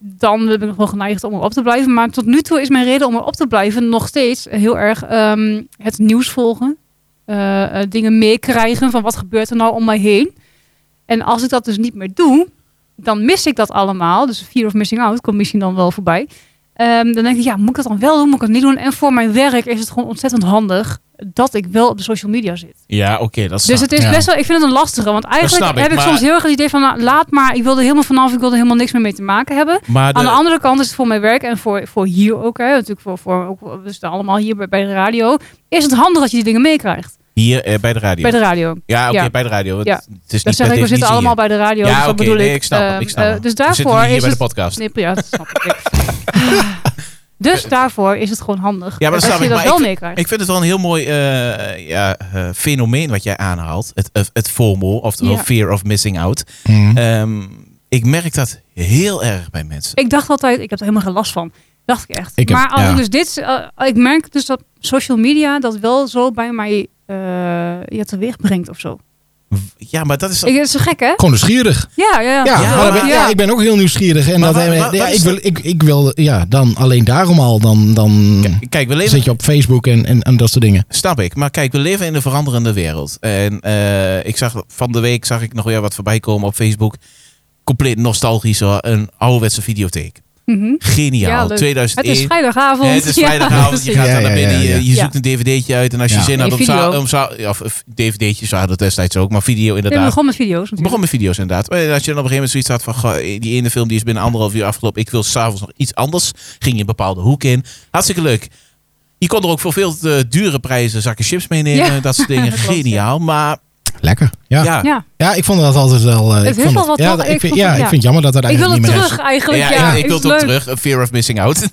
Speaker 1: Dan ben ik nog wel geneigd om erop te blijven. Maar tot nu toe is mijn reden om erop te blijven nog steeds heel erg ehm, het nieuws volgen. Eh, eh, dingen meekrijgen van wat gebeurt er nou om mij heen. En als ik dat dus niet meer doe, dan mis ik dat allemaal. Dus fear of missing out komt misschien dan wel voorbij. Ehm, dan denk ik, ja, moet ik dat dan wel doen, moet ik dat niet doen? En voor mijn werk is het gewoon ontzettend handig dat ik wel op de social media zit.
Speaker 3: Ja, oké. dat snap
Speaker 1: Dus het is
Speaker 2: Ja.
Speaker 1: best wel, ik vind het een lastige. Want eigenlijk
Speaker 3: snap ik,
Speaker 1: heb ik
Speaker 3: maar-
Speaker 1: soms heel erg het idee van, nou, laat maar, ik wil er helemaal vanaf, ik wil er helemaal niks meer mee te maken hebben.
Speaker 3: ik. Maar de-
Speaker 1: Aan de andere kant is het voor mijn werk en voor, voor hier ook, hè, natuurlijk voor, voor ook, we staan allemaal hier bij, bij de radio, is het handig dat je die dingen meekrijgt
Speaker 3: hier eh, bij de radio.
Speaker 1: bij de radio.
Speaker 3: ja, oké,
Speaker 1: ja.
Speaker 3: bij de radio. Het,
Speaker 1: Ja.
Speaker 3: het is
Speaker 1: Dat
Speaker 3: niet
Speaker 1: zeg
Speaker 3: per
Speaker 1: ik, we
Speaker 3: definitie
Speaker 1: zitten allemaal bij de radio,
Speaker 3: hier.
Speaker 1: dus
Speaker 3: Ja,
Speaker 1: dat
Speaker 3: oké.
Speaker 1: bedoel
Speaker 3: nee,
Speaker 1: ik.
Speaker 3: ik snap het,
Speaker 1: Ehm,
Speaker 3: ik snap
Speaker 1: eh,
Speaker 3: het.
Speaker 1: dus
Speaker 3: We zitten
Speaker 1: daarvoor
Speaker 3: hier
Speaker 1: is
Speaker 3: bij de
Speaker 1: het...
Speaker 3: podcast.
Speaker 1: Nee, ja, dat snap ik.
Speaker 3: *laughs*
Speaker 1: dus daarvoor is het gewoon handig
Speaker 3: Ja, maar dat
Speaker 1: dat
Speaker 3: snap
Speaker 1: je
Speaker 3: ik,
Speaker 1: dat
Speaker 3: maar
Speaker 1: wel meekrijgt.
Speaker 3: Ik vind het wel een heel mooi eh, ja, eh, fenomeen wat jij aanhaalt. Het, het, het FOMO, oftewel
Speaker 1: Ja.
Speaker 3: fear of missing out.
Speaker 2: Hmm.
Speaker 3: Ehm, ik merk dat heel erg bij mensen.
Speaker 1: Ik dacht altijd, ik heb er helemaal geen last van. Dacht ik echt.
Speaker 2: Ik heb-
Speaker 1: maar als
Speaker 3: ja.
Speaker 1: ik dus dit, eh, ik merk dus dat social media dat wel zo bij mij eh ja, teweeg brengt of zo.
Speaker 3: Ja, maar dat is...
Speaker 1: Ik, dat is zo gek, hè?
Speaker 2: Gewoon nieuwsgierig.
Speaker 1: Ja, ja, ja.
Speaker 2: Ja,
Speaker 3: Ja,
Speaker 2: maar dan
Speaker 3: maar-
Speaker 2: ben- ja, ik ben ook heel nieuwsgierig. En
Speaker 3: Maar
Speaker 2: dat, eh,
Speaker 3: wa- wa-
Speaker 2: ja,
Speaker 3: wat is
Speaker 2: ik, wil, ik, ik wil, ja, dan alleen daarom al, dan, dan
Speaker 3: K- Kijk, we leven...
Speaker 2: zit je op Facebook en, en, en dat soort dingen.
Speaker 3: Snap ik. Maar kijk, we leven in een veranderende wereld. En eh, ik zag van de week zag ik nog weer wat voorbij komen op Facebook. Compleet nostalgisch hoor. Een ouderwetse videotheek.
Speaker 1: Mhm. Ja,
Speaker 3: Geniaal.
Speaker 1: leuk. Het
Speaker 3: 2001.
Speaker 1: is vrijdagavond.
Speaker 3: Ja, het is
Speaker 1: *laughs* Ja,
Speaker 3: vrijdagavond, je
Speaker 1: precies.
Speaker 3: gaat daar
Speaker 2: Ja,
Speaker 3: naar
Speaker 2: ja,
Speaker 3: binnen,
Speaker 2: ja,
Speaker 3: je-
Speaker 2: ja.
Speaker 3: je,
Speaker 1: Ja.
Speaker 3: zoekt een dvd'tje uit. En als je
Speaker 2: Ja.
Speaker 3: zin had
Speaker 1: Nee,
Speaker 3: om,
Speaker 1: video.
Speaker 3: za- om za- ja, of- of dvd'tjes hadden het destijds ook, maar video
Speaker 1: Ik
Speaker 3: inderdaad.
Speaker 1: begon met video's
Speaker 3: Ik
Speaker 1: natuurlijk.
Speaker 3: begon met video's inderdaad. En als je dan op een gegeven moment zoiets had van, goh, eh, die ene film die is binnen anderhalf uur afgelopen. Ik wil s'avonds nog iets anders. Ging je een bepaalde hoek in. Hartstikke leuk. Je kon er ook voor veel te dure prijzen zakken chips meenemen.
Speaker 1: Ja,
Speaker 3: Dat soort
Speaker 1: *laughs*
Speaker 3: dingen.
Speaker 1: klopt, ja.
Speaker 3: Geniaal. Maar
Speaker 2: Lekker. Ja, ja.
Speaker 3: ja,
Speaker 1: Ja,
Speaker 2: ik vond dat altijd wel... eh,
Speaker 1: Het
Speaker 2: ik
Speaker 1: heeft
Speaker 2: vond
Speaker 1: wel wat
Speaker 2: ja,
Speaker 1: toch?
Speaker 2: ik
Speaker 1: Ik
Speaker 2: vind,
Speaker 1: vond
Speaker 2: ja,
Speaker 1: het-
Speaker 2: ik vind jammer dat dat
Speaker 1: ik wil
Speaker 2: eigenlijk
Speaker 1: het
Speaker 2: niet meer
Speaker 1: terug eigenlijk. Ja,
Speaker 3: Ja, ik, ik
Speaker 1: is
Speaker 3: wil het
Speaker 1: leuk.
Speaker 3: ook terug. A Fear of
Speaker 1: *laughs*
Speaker 3: missing out. *laughs*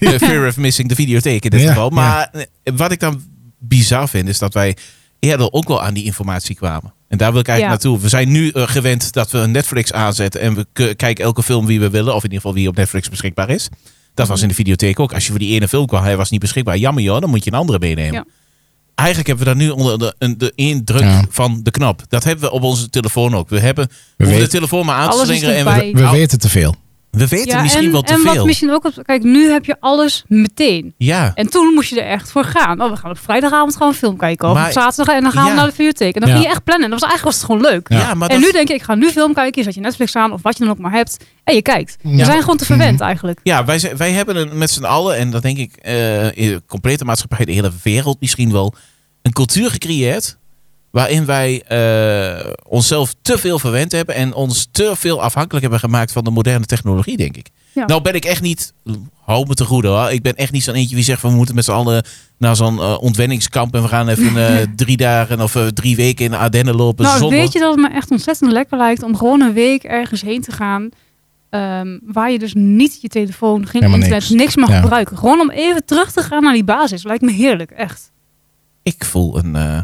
Speaker 3: Eh, Fear of missing de videotheek in dit
Speaker 2: Ja,
Speaker 3: geval. Maar eh, wat ik dan bizar vind, is dat wij eerder ook wel aan die informatie kwamen. En daar wil ik eigenlijk
Speaker 1: Ja.
Speaker 3: naartoe. We zijn nu eh, gewend dat we een Netflix aanzetten en we k- kijken elke film wie we willen. Of in ieder geval wie op Netflix beschikbaar is. Dat
Speaker 1: Mhm.
Speaker 3: was in de videotheek ook. Als je voor die ene film kwam, hij was niet beschikbaar. Jammer joh, dan moet je een andere meenemen.
Speaker 1: Ja.
Speaker 3: Eigenlijk hebben we dat nu onder de, een, de indruk
Speaker 2: Ja.
Speaker 3: van de knop. Dat hebben we op onze telefoon ook. We hebben
Speaker 2: We
Speaker 3: hoeven de
Speaker 2: weten-
Speaker 3: telefoon maar aan te
Speaker 1: Alles is
Speaker 3: slingeren. En
Speaker 1: dichtbij.
Speaker 3: we,
Speaker 2: terug. We
Speaker 3: Nou,
Speaker 2: weten te veel.
Speaker 3: we weten
Speaker 1: Ja,
Speaker 3: misschien
Speaker 1: en,
Speaker 3: wel te
Speaker 1: en
Speaker 3: veel.
Speaker 1: wat misschien ook... op- Kijk, nu heb je alles meteen.
Speaker 3: Ja,
Speaker 1: En toen moest je er echt voor gaan. Oh, we gaan op vrijdagavond gewoon een film kijken. Of
Speaker 3: Maar-
Speaker 1: op zaterdag en dan gaan
Speaker 3: Ja.
Speaker 1: we naar de bibliotheek. En dan
Speaker 2: Ja.
Speaker 1: ging je echt plannen. En dat was eigenlijk was het gewoon leuk.
Speaker 3: ja.
Speaker 2: Ja.
Speaker 3: maar
Speaker 1: en
Speaker 3: dat-
Speaker 1: nu denk ik, ik ga nu film kijken. Je zet je Netflix aan of wat je dan ook maar hebt. En je kijkt. We
Speaker 2: Ja. Mhm.
Speaker 1: zijn gewoon te verwend eigenlijk.
Speaker 3: ja wij, zijn- wij hebben een, met z'n allen, en dat denk ik eh, in de complete maatschappij, de hele wereld misschien wel, een cultuur gecreëerd waarin wij eh, onszelf te veel verwend hebben en ons te veel afhankelijk hebben gemaakt van de moderne technologie, denk ik.
Speaker 1: Ja.
Speaker 3: Nou ben ik echt niet, hou me te goede hoor, ik ben echt niet zo'n eentje die zegt van we moeten met z'n allen naar zo'n eh, ontwenningskamp en we gaan even eh,
Speaker 1: *laughs*
Speaker 3: drie dagen of eh, drie weken in de Ardennen lopen
Speaker 1: nou,
Speaker 3: zonder...
Speaker 1: weet je dat het me echt ontzettend lekker lijkt om gewoon een week ergens heen te gaan. ehm, waar je dus niet je telefoon, geen
Speaker 2: Helemaal
Speaker 1: internet, niks,
Speaker 2: niks.
Speaker 1: mag
Speaker 2: Ja.
Speaker 1: gebruiken. Gewoon om even terug te gaan naar die basis. Lijkt me heerlijk, echt.
Speaker 3: Ik voel een... eh,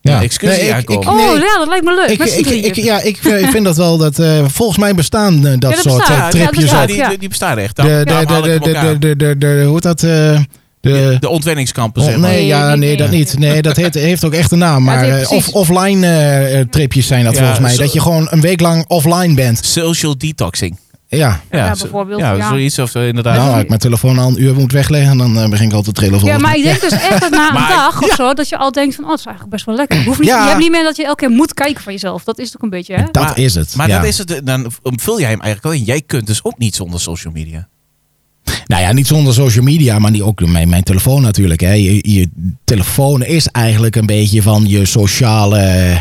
Speaker 2: Ja.
Speaker 3: een excursie
Speaker 2: Nee, ik-
Speaker 3: aankomen.
Speaker 2: ik- Nee.
Speaker 1: Oh ja, dat lijkt me leuk.
Speaker 2: Ik,
Speaker 1: Met z'n
Speaker 2: ik,
Speaker 1: drieën.
Speaker 2: ik, ja, ik, eh, ik vind dat wel dat eh, volgens mij bestaan eh, dat
Speaker 1: Ja, dat
Speaker 2: soort eh,
Speaker 1: bestaat. Ja,
Speaker 2: tripjes
Speaker 1: dat
Speaker 2: op.
Speaker 1: bestaat.
Speaker 3: die,
Speaker 1: ja.
Speaker 3: die- die bestaan echt.
Speaker 2: De,
Speaker 3: Dan-
Speaker 2: de,
Speaker 3: dan haal
Speaker 2: de,
Speaker 3: ik hem
Speaker 2: de,
Speaker 3: ook aan.
Speaker 2: de, de, de, de- hoe heet dat? eh, de,
Speaker 3: De- de ontwenningskampen, zeg
Speaker 2: Oh,
Speaker 3: maar.
Speaker 2: nee, ja,
Speaker 1: Nee,
Speaker 2: nee,
Speaker 1: niet
Speaker 2: dat
Speaker 1: meer.
Speaker 2: niet. Nee, dat heeft, heeft ook echt een naam.
Speaker 1: Ja, het
Speaker 2: Maar
Speaker 1: heeft
Speaker 2: eh,
Speaker 1: precies-
Speaker 2: off, offline eh, eh, tripjes zijn dat
Speaker 3: Ja,
Speaker 2: volgens mij.
Speaker 3: zo-
Speaker 2: Dat je gewoon een week lang offline bent.
Speaker 3: Social detoxing.
Speaker 2: Ja.
Speaker 1: Ja,
Speaker 3: zo-
Speaker 1: bijvoorbeeld,
Speaker 3: Ja,
Speaker 1: ja.
Speaker 3: zoiets of zo, inderdaad.
Speaker 2: Nou, als ik mijn telefoon al een uur moet wegleggen, dan eh, begin ik al te trillen
Speaker 1: Ja,
Speaker 2: volgens
Speaker 1: maar ik denk dus echt dat
Speaker 2: *laughs*
Speaker 1: na een
Speaker 3: Maar-
Speaker 1: dag of zo, dat je al denkt van, oh, het is eigenlijk best wel lekker. Je, hoeft niet,
Speaker 2: Ja.
Speaker 1: je hebt niet meer dat je elke keer moet kijken van jezelf. Dat is toch een beetje, hè?
Speaker 2: mij. Dat
Speaker 3: Maar-
Speaker 2: is het.
Speaker 3: Maar
Speaker 2: ja.
Speaker 3: dat is het, dan vul jij hem eigenlijk al in. Jij kunt dus ook niet zonder social media.
Speaker 2: Nou ja, niet zonder social media, maar die ook door mijn, mijn telefoon natuurlijk. Hè. Je, je telefoon is eigenlijk een beetje van je sociale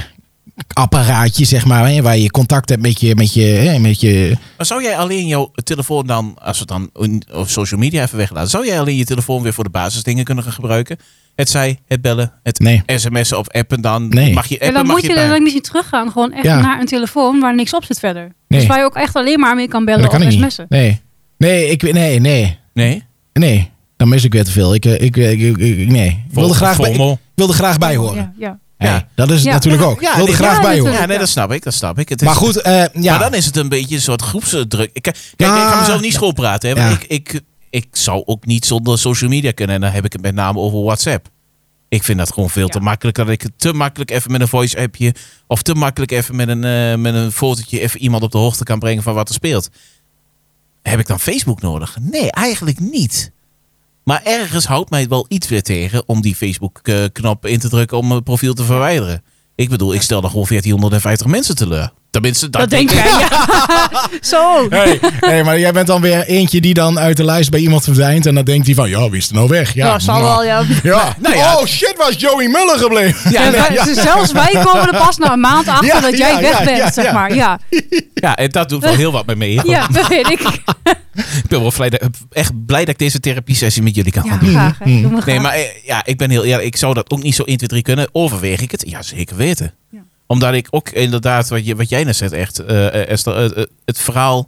Speaker 2: apparaatje, zeg maar. Hè, waar je contact hebt met je... Met je, hè, met je
Speaker 3: Maar zou jij alleen jouw telefoon dan, als we het dan in- of social media even weglaten, zou jij alleen je telefoon weer voor de basisdingen kunnen gaan gebruiken? Het zij, het bellen, het
Speaker 2: nee.
Speaker 3: sms'en of appen dan.
Speaker 2: Nee.
Speaker 3: Mag je
Speaker 1: En
Speaker 3: appen,
Speaker 1: dan
Speaker 3: mag
Speaker 1: moet je,
Speaker 3: je
Speaker 1: dan
Speaker 3: bellen.
Speaker 1: ook misschien teruggaan. Gewoon echt
Speaker 2: Ja.
Speaker 1: naar een telefoon waar niks op zit verder.
Speaker 2: Nee.
Speaker 1: Dus waar je ook echt alleen maar mee kan bellen
Speaker 2: dat kan
Speaker 1: of
Speaker 2: ik niet.
Speaker 1: sms'en.
Speaker 2: Nee. Nee, ik, nee, nee.
Speaker 3: Nee?
Speaker 2: Nee. Dan mis ik weer te veel. Ik, eh, ik, ik, ik- ik- nee. Ik wilde graag, bij, ik
Speaker 3: FOMO.
Speaker 2: wilde graag bij horen.
Speaker 1: Ja, ja.
Speaker 2: Hey,
Speaker 3: Ja.
Speaker 2: Dat is het
Speaker 1: Ja.
Speaker 2: natuurlijk ook.
Speaker 3: Ja,
Speaker 2: Ik wilde
Speaker 3: nee,
Speaker 2: graag
Speaker 1: ja,
Speaker 2: bij horen.
Speaker 1: natuurlijk.
Speaker 3: Ja, nee, dat snap ik. Dat snap ik. Het is,
Speaker 2: Maar goed, eh, ja.
Speaker 3: Maar dan is het een beetje een soort groepsdruk. Ik, eh, kijk,
Speaker 2: Ja.
Speaker 3: ik ga mezelf niet school praten. Hè, maar
Speaker 2: Ja.
Speaker 3: ik, ik, ik zou ook niet zonder social media kunnen. En dan heb ik het met name over WhatsApp. Ik vind dat gewoon veel te
Speaker 1: Ja.
Speaker 3: makkelijk. Dat ik het te makkelijk even met een voice-appje... of te makkelijk even met een, eh, met een fotootje... even iemand op de hoogte kan brengen van wat er speelt. Heb ik dan Facebook nodig? Nee, eigenlijk niet. Maar ergens houdt mij wel iets weer tegen... om die Facebook-knop in te drukken om mijn profiel te verwijderen. Ik bedoel, ik stel dan gewoon 1450 mensen teleur. Tenminste, dat,
Speaker 1: Dat denk
Speaker 3: ik.
Speaker 1: jij, ja.
Speaker 2: *laughs*
Speaker 1: *laughs* Zo.
Speaker 2: Hey, hey, maar jij bent dan weer eentje die dan uit de lijst bij iemand verdwijnt. En dan denkt hij van, ja, wie is er nou weg? Ja,
Speaker 1: Ja, zal
Speaker 2: nou,
Speaker 1: wel, ja.
Speaker 2: *laughs*
Speaker 1: *laughs*
Speaker 2: ja.
Speaker 3: Nou ja.
Speaker 2: Oh shit, was Joey Muller gebleven?
Speaker 1: Ja, wij- Zelfs wij komen er pas na een maand achter
Speaker 2: Ja,
Speaker 1: dat jij
Speaker 2: ja,
Speaker 1: weg
Speaker 2: ja,
Speaker 1: bent,
Speaker 2: ja,
Speaker 1: zeg
Speaker 2: ja.
Speaker 1: maar. Ja,
Speaker 3: Ja, en dat doet wel heel wat met me.
Speaker 1: ja dat weet ik.
Speaker 3: Ik ben wel blij dat, echt blij dat ik deze therapie-sessie met jullie kan
Speaker 1: Ja,
Speaker 3: gaan doen.
Speaker 1: graag.
Speaker 2: Mm.
Speaker 1: hè. Doe me graag.
Speaker 3: Nee, maar eh, ja, ik ben heel eerlijk. Ik zou dat ook niet zo 1, 2, 3 kunnen. Overweeg ik het? Ja, zeker weten.
Speaker 1: Ja.
Speaker 3: Omdat ik ook inderdaad, wat, je, wat jij net zegt, echt, eh, eh, Esther, eh, eh, het verhaal,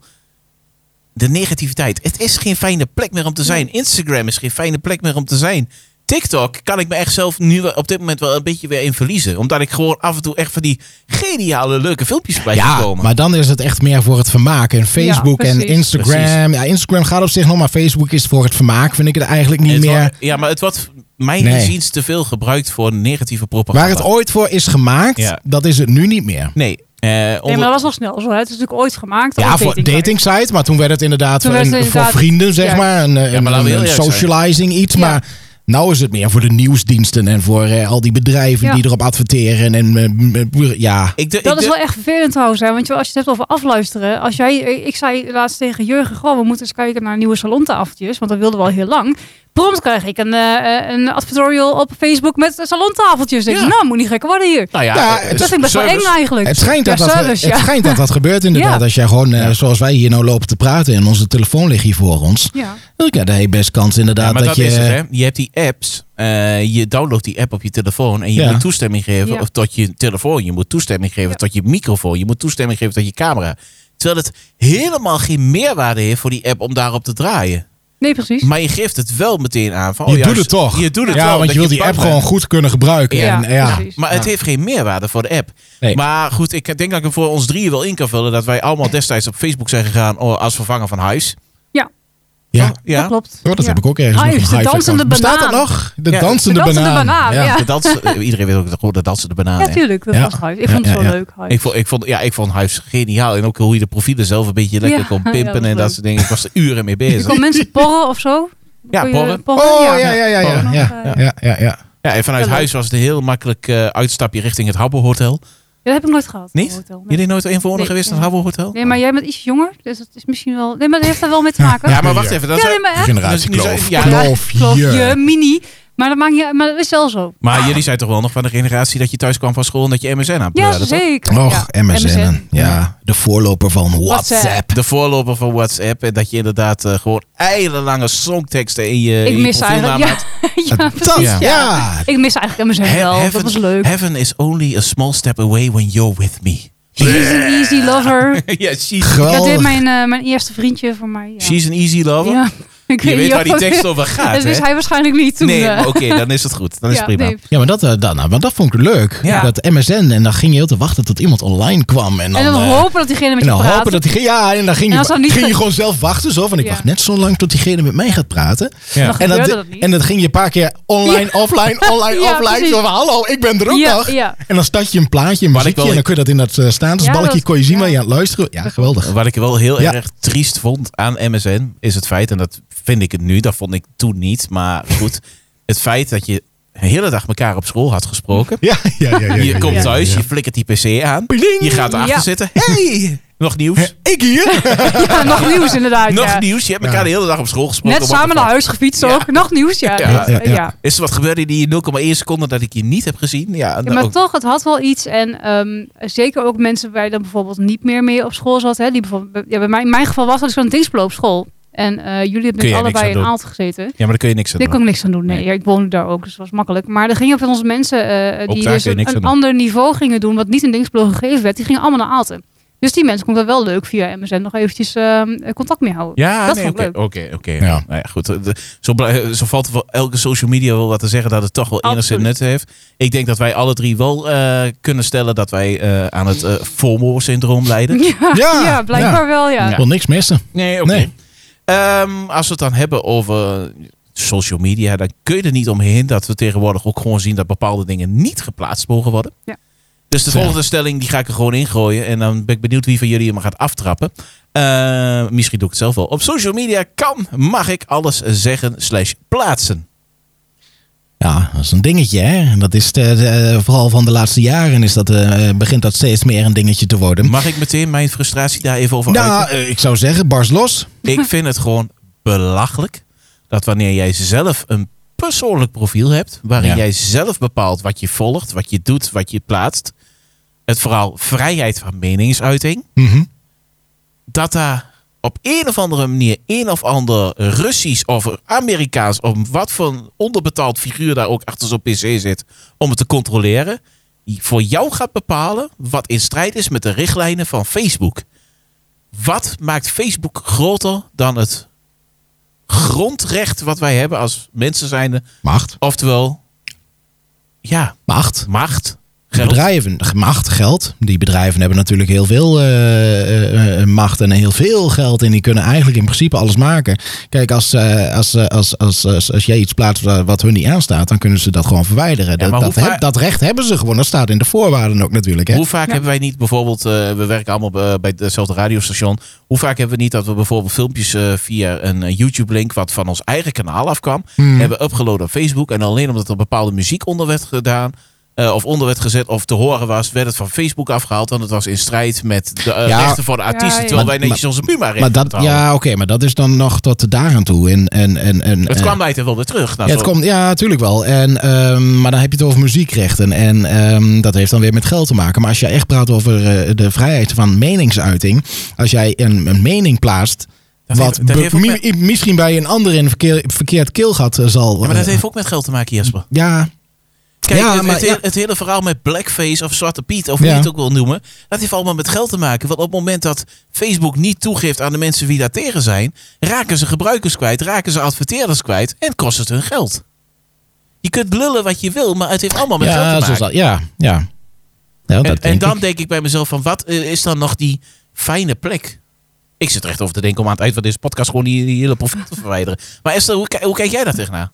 Speaker 3: de negativiteit. Het is geen fijne plek meer om te zijn. Instagram is geen fijne plek meer om te zijn. TikTok kan ik me echt zelf nu wel- op dit moment wel een beetje weer in verliezen. Omdat ik gewoon af en toe echt van die geniale, leuke filmpjes bij
Speaker 2: Ja,
Speaker 3: komen.
Speaker 2: maar dan is het echt meer voor het vermaak. En Facebook
Speaker 1: Ja,
Speaker 2: en
Speaker 1: precies.
Speaker 2: Instagram. Ja, Instagram gaat op zich nog, maar Facebook is voor het vermaak. Vind ik het eigenlijk niet
Speaker 3: Het
Speaker 2: meer.
Speaker 3: wordt- ja, maar het wordt mijn
Speaker 2: Nee.
Speaker 3: inziens te veel gebruikt voor negatieve propaganda.
Speaker 2: Waar het ooit voor is gemaakt,
Speaker 3: Ja.
Speaker 2: dat is het nu niet meer.
Speaker 3: Nee. eh,
Speaker 1: Nee,
Speaker 3: onder-
Speaker 1: maar dat was nog snel zo. hè. Het is natuurlijk ooit gemaakt.
Speaker 2: Ja,
Speaker 1: als
Speaker 2: voor dating site, maar toen werd het inderdaad,
Speaker 1: Toen
Speaker 2: voor,
Speaker 1: werd het
Speaker 2: een- voor
Speaker 1: inderdaad-
Speaker 2: vrienden, zeg
Speaker 1: ja.
Speaker 2: maar. Een, een-
Speaker 3: maar laten we heel
Speaker 2: een
Speaker 3: eerlijk zijn.
Speaker 2: socializing iets,
Speaker 1: Ja.
Speaker 2: maar nou is het meer voor de nieuwsdiensten en voor eh, al die bedrijven
Speaker 1: Ja.
Speaker 2: die erop adverteren. En, eh, m- m- ja,
Speaker 3: ik de-
Speaker 1: Dat
Speaker 3: ik
Speaker 1: is
Speaker 3: de-
Speaker 1: wel echt vervelend trouwens, hè? want je- als je het hebt over afluisteren. Als jij, eh, ik zei laatst tegen Jurgen, goh, we moeten eens kijken naar nieuwe salontafeltjes, want dat wilden we al heel lang. Prompt krijg ik een, eh, eh, een advertorial op Facebook met salontafeltjes. Ik
Speaker 3: Ja.
Speaker 1: denk, nou, moet niet gek worden hier.
Speaker 3: nou ja,
Speaker 2: Ja,
Speaker 3: eh,
Speaker 2: het
Speaker 1: Dat vind ik best
Speaker 3: service.
Speaker 1: wel eng eigenlijk.
Speaker 2: het schijnt, dat
Speaker 1: ja,
Speaker 2: dat,
Speaker 1: service,
Speaker 2: het
Speaker 1: ja.
Speaker 2: schijnt dat dat gebeurt inderdaad.
Speaker 1: Ja.
Speaker 2: Als jij gewoon, eh, zoals wij hier nou lopen te praten en onze telefoon ligt hier voor ons.
Speaker 1: Ja.
Speaker 2: dan Ja, daar heb je best kans inderdaad
Speaker 3: Ja, maar
Speaker 2: dat,
Speaker 3: dat,
Speaker 2: je... eh,
Speaker 3: is het, hè. Je hebt die apps. eh, je downloadt die app op je telefoon en je
Speaker 2: Ja.
Speaker 3: moet toestemming geven
Speaker 1: Ja.
Speaker 3: of tot je telefoon. Je moet toestemming geven
Speaker 1: Ja.
Speaker 3: tot je microfoon. Je moet toestemming geven tot je camera. Terwijl het helemaal geen meerwaarde heeft voor die app om daarop te draaien.
Speaker 1: Nee, precies.
Speaker 3: Maar je geeft het wel meteen aan. Van,
Speaker 2: je
Speaker 3: oh, ja,
Speaker 2: doet het toch.
Speaker 3: Je doet het
Speaker 2: ja,
Speaker 3: wel,
Speaker 2: want
Speaker 3: dat
Speaker 2: je wilt die
Speaker 3: bang
Speaker 2: app
Speaker 3: bent.
Speaker 2: gewoon goed kunnen gebruiken.
Speaker 1: Ja,
Speaker 2: en, ja.
Speaker 1: precies.
Speaker 3: Maar het heeft geen meerwaarde voor de app.
Speaker 2: Nee.
Speaker 3: Maar goed, ik denk dat ik hem voor ons drieën wel in kan vullen. Dat wij allemaal destijds op Facebook zijn gegaan oh, als vervanger van Hives.
Speaker 2: Ja.
Speaker 3: Ja.
Speaker 1: Dat klopt.
Speaker 2: Oh, dat
Speaker 1: Ja.
Speaker 2: heb ik ook ergens
Speaker 1: Hives,
Speaker 2: nog
Speaker 1: de
Speaker 2: een Hive-account.
Speaker 1: dansende
Speaker 2: Bestaat dat
Speaker 1: banaan.
Speaker 2: nog? De
Speaker 3: Ja.
Speaker 2: dansende
Speaker 1: De dansende
Speaker 2: banaan.
Speaker 1: banaan, ja. *laughs*
Speaker 3: Dat is- eh, iedereen weet ook dat- dat dansen de banaan.
Speaker 1: Ja,
Speaker 3: hè.
Speaker 1: tuurlijk. Dat
Speaker 2: Ja.
Speaker 1: was Hives. Ik
Speaker 2: Ja,
Speaker 1: vond het
Speaker 2: ja,
Speaker 1: zo
Speaker 2: ja.
Speaker 1: leuk, Hives.
Speaker 3: ik vond, ik, vond, ja, ik vond Hives geniaal. En ook hoe je de profielen zelf een beetje lekker
Speaker 1: Ja,
Speaker 3: kon
Speaker 1: *laughs* ja,
Speaker 3: pimpen
Speaker 1: dat is
Speaker 3: en dat
Speaker 1: leuk.
Speaker 3: soort dingen. Ik was er uren mee
Speaker 1: *laughs* Je
Speaker 3: bezig.
Speaker 1: kon mensen porren of zo.
Speaker 3: Ja,
Speaker 1: Kon je
Speaker 3: porren.
Speaker 2: Oh, ja, ja, ja.
Speaker 1: Porren.
Speaker 2: Ja, ja, ja. ja, ja.
Speaker 3: Ja, en vanuit
Speaker 1: Ja, leuk.
Speaker 3: huis was het een heel makkelijk eh, uitstapje richting het Habbo Hotel.
Speaker 1: Ja, dat heb ik nooit gehad.
Speaker 3: Niet?
Speaker 1: Een hotel, nee.
Speaker 3: Jullie nooit een voor
Speaker 1: Nee,
Speaker 3: geweest naar
Speaker 1: nee.
Speaker 3: het Habbo Hotel?
Speaker 1: Nee, maar jij bent iets jonger, dus dat is misschien wel... Nee, maar dat heeft daar wel mee te maken.
Speaker 3: Ja, maar wacht even. Dat
Speaker 1: Ja,
Speaker 3: is-
Speaker 1: nee, maar echt.
Speaker 2: Generatie
Speaker 3: Dus nu
Speaker 2: kloof.
Speaker 3: zijn- ja.
Speaker 1: *laughs*
Speaker 2: Kloof,
Speaker 1: Klopt,
Speaker 2: je.
Speaker 1: je mini. Maar dat, maakt niet, uit, maar dat is wel zo.
Speaker 3: Maar jullie zijn toch wel nog van de generatie dat je thuis kwam van school en dat je MSN aan het
Speaker 1: Ja,
Speaker 3: bladeren, toch?
Speaker 1: zeker.
Speaker 2: Och,
Speaker 1: ja.
Speaker 2: MSN. Ja, de voorloper van
Speaker 1: eh,
Speaker 2: WhatsApp.
Speaker 1: WhatsApp.
Speaker 3: De voorloper van WhatsApp. En dat je inderdaad eh, gewoon eilenlange songteksten in je,
Speaker 1: Ik
Speaker 3: in je
Speaker 1: mis
Speaker 3: profielnaam
Speaker 1: eigenlijk... *laughs* Ja,
Speaker 3: had.
Speaker 1: ja, precies.
Speaker 2: Dat, ja.
Speaker 1: ja. Ik mis eigenlijk MSN
Speaker 3: He-
Speaker 1: wel. Dat
Speaker 3: heaven-
Speaker 1: was leuk.
Speaker 3: Heaven is only a small step away when you're with me. *laughs*
Speaker 1: She's an easy lover.
Speaker 3: ja, she's,
Speaker 1: Dat deed
Speaker 2: Geweldig.
Speaker 1: mijn, eh, mijn eerste vriendje voor mij. Ja.
Speaker 3: she's an easy lover.
Speaker 1: Ja, ik
Speaker 3: Je weet
Speaker 1: niet
Speaker 3: waar
Speaker 1: of-
Speaker 3: die
Speaker 1: *laughs*
Speaker 3: tekst over gaat,
Speaker 1: Dat wist
Speaker 3: hè?
Speaker 1: hij waarschijnlijk niet toen.
Speaker 3: nee,
Speaker 1: eh.
Speaker 3: maar oké, dan is het goed. Dan is
Speaker 1: Ja,
Speaker 3: het prima.
Speaker 1: nee.
Speaker 2: Ja, maar dat, eh, dat, nou, want dat vond ik leuk.
Speaker 3: Ja.
Speaker 2: Dat MSN. En dan ging je heel te wachten tot iemand online kwam. En dan,
Speaker 1: En dan
Speaker 2: eh,
Speaker 1: hopen dat diegene met
Speaker 2: en
Speaker 1: je
Speaker 2: dan
Speaker 1: praat.
Speaker 2: hopen dat die, ja, en dan ging,
Speaker 1: En als
Speaker 2: je,
Speaker 1: dat niet
Speaker 2: ging je
Speaker 1: ge-
Speaker 2: gewoon zelf wachten. Zo van, ik
Speaker 1: Ja.
Speaker 2: wacht net zo lang tot diegene met mij gaat praten.
Speaker 3: Ja.
Speaker 1: Dan
Speaker 2: En dat,
Speaker 1: gebeurde dat niet.
Speaker 2: en dat ging je een paar keer online, offline, online,
Speaker 1: Ja,
Speaker 2: offline.
Speaker 1: precies.
Speaker 2: Zo van, hallo, ik ben er ook
Speaker 1: Ja,
Speaker 2: nog.
Speaker 1: ja.
Speaker 2: En dan start je een plaatje, een
Speaker 3: Wat
Speaker 2: muziekje.
Speaker 3: ik wel-
Speaker 2: En dan kun je dat in dat eh,
Speaker 1: Ja,
Speaker 2: statusbalkje
Speaker 1: dat-
Speaker 2: kon je zien
Speaker 1: ja.
Speaker 2: waar je aan het luisteren. Ja, geweldig.
Speaker 3: Wat ik wel heel
Speaker 2: Ja.
Speaker 3: erg triest vond aan MSN is het feit, en dat vind ik het nu, dat vond ik toen niet, maar goed, het feit dat je de hele dag elkaar op school had gesproken.
Speaker 2: Ja, ja, ja. ja, ja,
Speaker 3: je komt
Speaker 2: ja,
Speaker 3: thuis,
Speaker 2: ja.
Speaker 3: je flikkert die PC aan,
Speaker 2: Bling!
Speaker 3: je gaat erachter
Speaker 1: Ja.
Speaker 3: zitten. Hey, Nog nieuws? Ik hier!
Speaker 1: Ja,
Speaker 3: *laughs*
Speaker 1: nog nieuws inderdaad.
Speaker 3: Nog
Speaker 1: ja.
Speaker 3: nieuws? Je hebt elkaar
Speaker 2: Ja.
Speaker 3: de hele dag op school gesproken.
Speaker 1: Net
Speaker 3: What the
Speaker 1: samen naar
Speaker 3: fuck?
Speaker 1: huis gefietst
Speaker 3: Ja.
Speaker 1: ook. Nog nieuws, ja.
Speaker 3: Ja,
Speaker 1: Ja,
Speaker 2: ja, ja.
Speaker 1: ja.
Speaker 3: Is er wat gebeurd in die 0,1 seconde dat ik je niet heb gezien? Ja,
Speaker 1: Ja,
Speaker 3: nou,
Speaker 1: maar
Speaker 3: ook-
Speaker 1: toch, het had wel iets. En ehm, zeker ook mensen waar je dan bijvoorbeeld niet meer mee op school zat. Hè, die bijvoorbeeld, ja, bij mij, in mijn geval was dat ik zo'n dingspel op school. En eh, jullie hebben
Speaker 3: Kun jij niks aan
Speaker 1: allebei in
Speaker 3: doen.
Speaker 1: Aalten gezeten.
Speaker 3: ja, maar daar kun je niks aan
Speaker 1: Daar kon
Speaker 3: doen.
Speaker 1: ik niks aan doen. Nee,
Speaker 3: Nee.
Speaker 1: Ja, ik woonde daar ook, dus het was makkelijk. Maar er gingen van onze mensen eh,
Speaker 3: daar
Speaker 1: die
Speaker 3: kun
Speaker 1: dus
Speaker 3: je niks
Speaker 1: een,
Speaker 3: aan
Speaker 1: een
Speaker 3: doen.
Speaker 1: ander niveau gingen doen, wat niet in Dingsblo gegeven werd, die gingen allemaal naar Aalten. Dus die mensen konden wel leuk via MSN nog eventjes ehm, contact mee houden.
Speaker 3: Ja,
Speaker 1: Dat
Speaker 3: nee,
Speaker 1: vond ik
Speaker 3: oké,
Speaker 1: leuk.
Speaker 3: oké. oké.
Speaker 2: Ja.
Speaker 3: Nou ja, goed. De- Zo, blij- zo valt voor elke social media wel wat te zeggen dat het toch wel enigszins
Speaker 1: Absoluut.
Speaker 3: nut heeft. Ik denk dat wij alle drie wel eh, kunnen stellen dat wij eh, aan het eh, FOMO-syndroom
Speaker 1: *laughs*
Speaker 3: lijden.
Speaker 1: Ja,
Speaker 2: Ja,
Speaker 1: ja, blijkbaar wel, ja.
Speaker 2: Ik wil niks missen.
Speaker 3: Nee, oké.
Speaker 2: Nee.
Speaker 3: Ehm, als we het dan hebben over social media, dan kun je er niet omheen dat we tegenwoordig ook gewoon zien dat bepaalde dingen niet geplaatst mogen worden.
Speaker 1: Ja.
Speaker 3: Dus de
Speaker 2: Ja.
Speaker 3: volgende stelling die ga ik er gewoon ingooien en dan ben ik benieuwd wie van jullie hem gaat aftrappen. Eh, misschien doe ik het zelf wel. Op social media kan, mag ik alles zeggen slash plaatsen.
Speaker 2: Ja, dat is een dingetje, hè. Dat is de- de- vooral van de laatste jaren is dat, eh, begint dat steeds meer een dingetje te worden.
Speaker 3: Mag ik meteen mijn frustratie daar even over uiten?
Speaker 2: Nou, eh, ik zou zeggen, bars los.
Speaker 3: Ik vind het gewoon belachelijk dat wanneer jij zelf een persoonlijk profiel hebt, waarin
Speaker 2: Ja.
Speaker 3: jij zelf bepaalt wat je volgt, wat je doet, wat je plaatst, het vooral vrijheid van meningsuiting,
Speaker 2: Mhm.
Speaker 3: dat daar op een of andere manier een of ander Russisch of Amerikaans, om wat voor een onderbetaald figuur daar ook achter zo'n pc zit, om het te controleren, die voor jou gaat bepalen wat in strijd is met de richtlijnen van Facebook. Wat maakt Facebook groter dan het grondrecht wat wij hebben als mensen zijnde?
Speaker 2: Macht.
Speaker 3: Oftewel, ja,
Speaker 2: Macht.
Speaker 3: macht,
Speaker 2: Geld.
Speaker 3: geld.
Speaker 2: Bedrijven, macht, geld. Die bedrijven hebben natuurlijk heel veel eh, eh, eh, macht en heel veel geld. En die kunnen eigenlijk in principe alles maken. Kijk, als, eh, als, eh, als, als, als, als jij iets plaatst wa- wat hun niet aanstaat, dan kunnen ze dat gewoon verwijderen. dat,
Speaker 3: maar
Speaker 2: dat,
Speaker 3: hoe
Speaker 2: heb-
Speaker 3: vaak-
Speaker 2: dat recht hebben ze gewoon. Dat staat in de voorwaarden ook natuurlijk. Hè?
Speaker 3: Hoe vaak hebben wij niet bijvoorbeeld, eh, we werken allemaal eh, bij hetzelfde radiostation. Hoe vaak hebben we niet dat we bijvoorbeeld filmpjes eh, via een eh, YouTube-link, wat van ons eigen kanaal afkwam,
Speaker 2: Hmm.
Speaker 3: hebben upgeload op Facebook. En alleen omdat er bepaalde muziek onder werd gedaan. eh, of onder werd gezet of te horen was, werd het van Facebook afgehaald. Want het was in strijd met de eh,
Speaker 2: Ja.
Speaker 3: rechten van de artiesten.
Speaker 1: ja.
Speaker 3: Terwijl wij
Speaker 2: Maar-
Speaker 3: netjes onze Puma
Speaker 2: Maar
Speaker 3: rechten
Speaker 2: dat,
Speaker 3: betalen.
Speaker 2: ja, oké, maar dat is dan nog tot daar aan toe. En, en, en, en,
Speaker 3: Het
Speaker 2: eh,
Speaker 3: kwam later wel weer terug. Nou,
Speaker 2: ja, het
Speaker 3: zo-
Speaker 2: komt, ja, natuurlijk wel. En, ehm, maar dan heb je het over muziekrechten. En ehm, dat heeft dan weer met geld te maken. Maar als je echt praat over eh, de vrijheid van meningsuiting. Als jij een, een mening plaatst.
Speaker 3: Dat
Speaker 2: wat
Speaker 3: heeft- dat
Speaker 2: be-
Speaker 3: heeft ook
Speaker 2: mi-
Speaker 3: met-
Speaker 2: i- misschien bij een ander in een verkeer, verkeerd keelgat eh, zal.
Speaker 3: Ja, maar dat
Speaker 2: eh,
Speaker 3: heeft ook met geld te maken, Jesper.
Speaker 2: ja,
Speaker 3: Kijk,
Speaker 2: Ja,
Speaker 3: het,
Speaker 2: maar
Speaker 3: het,
Speaker 2: ja.
Speaker 3: hele- het hele verhaal met blackface of zwarte Piet, of hoe
Speaker 2: Ja.
Speaker 3: je het ook wil noemen, dat heeft allemaal met geld te maken. Want op het moment dat Facebook niet toegeeft aan de mensen wie daar tegen zijn, raken ze gebruikers kwijt, raken ze adverteerders kwijt en kost het hun geld. Je kunt lullen wat je wil, maar het heeft allemaal met
Speaker 2: ja,
Speaker 3: geld te
Speaker 2: zo
Speaker 3: maken.
Speaker 2: is dat, ja, ja. Ja, dat
Speaker 3: en, en
Speaker 2: denk
Speaker 3: dan
Speaker 2: ik.
Speaker 3: denk ik bij mezelf van, wat eh, is dan nog die fijne plek? Ik zit er echt over te denken om aan het eind van deze podcast gewoon die, die hele profiel te verwijderen. Maar Esther, hoe, ki- hoe kijk jij daar tegenaan?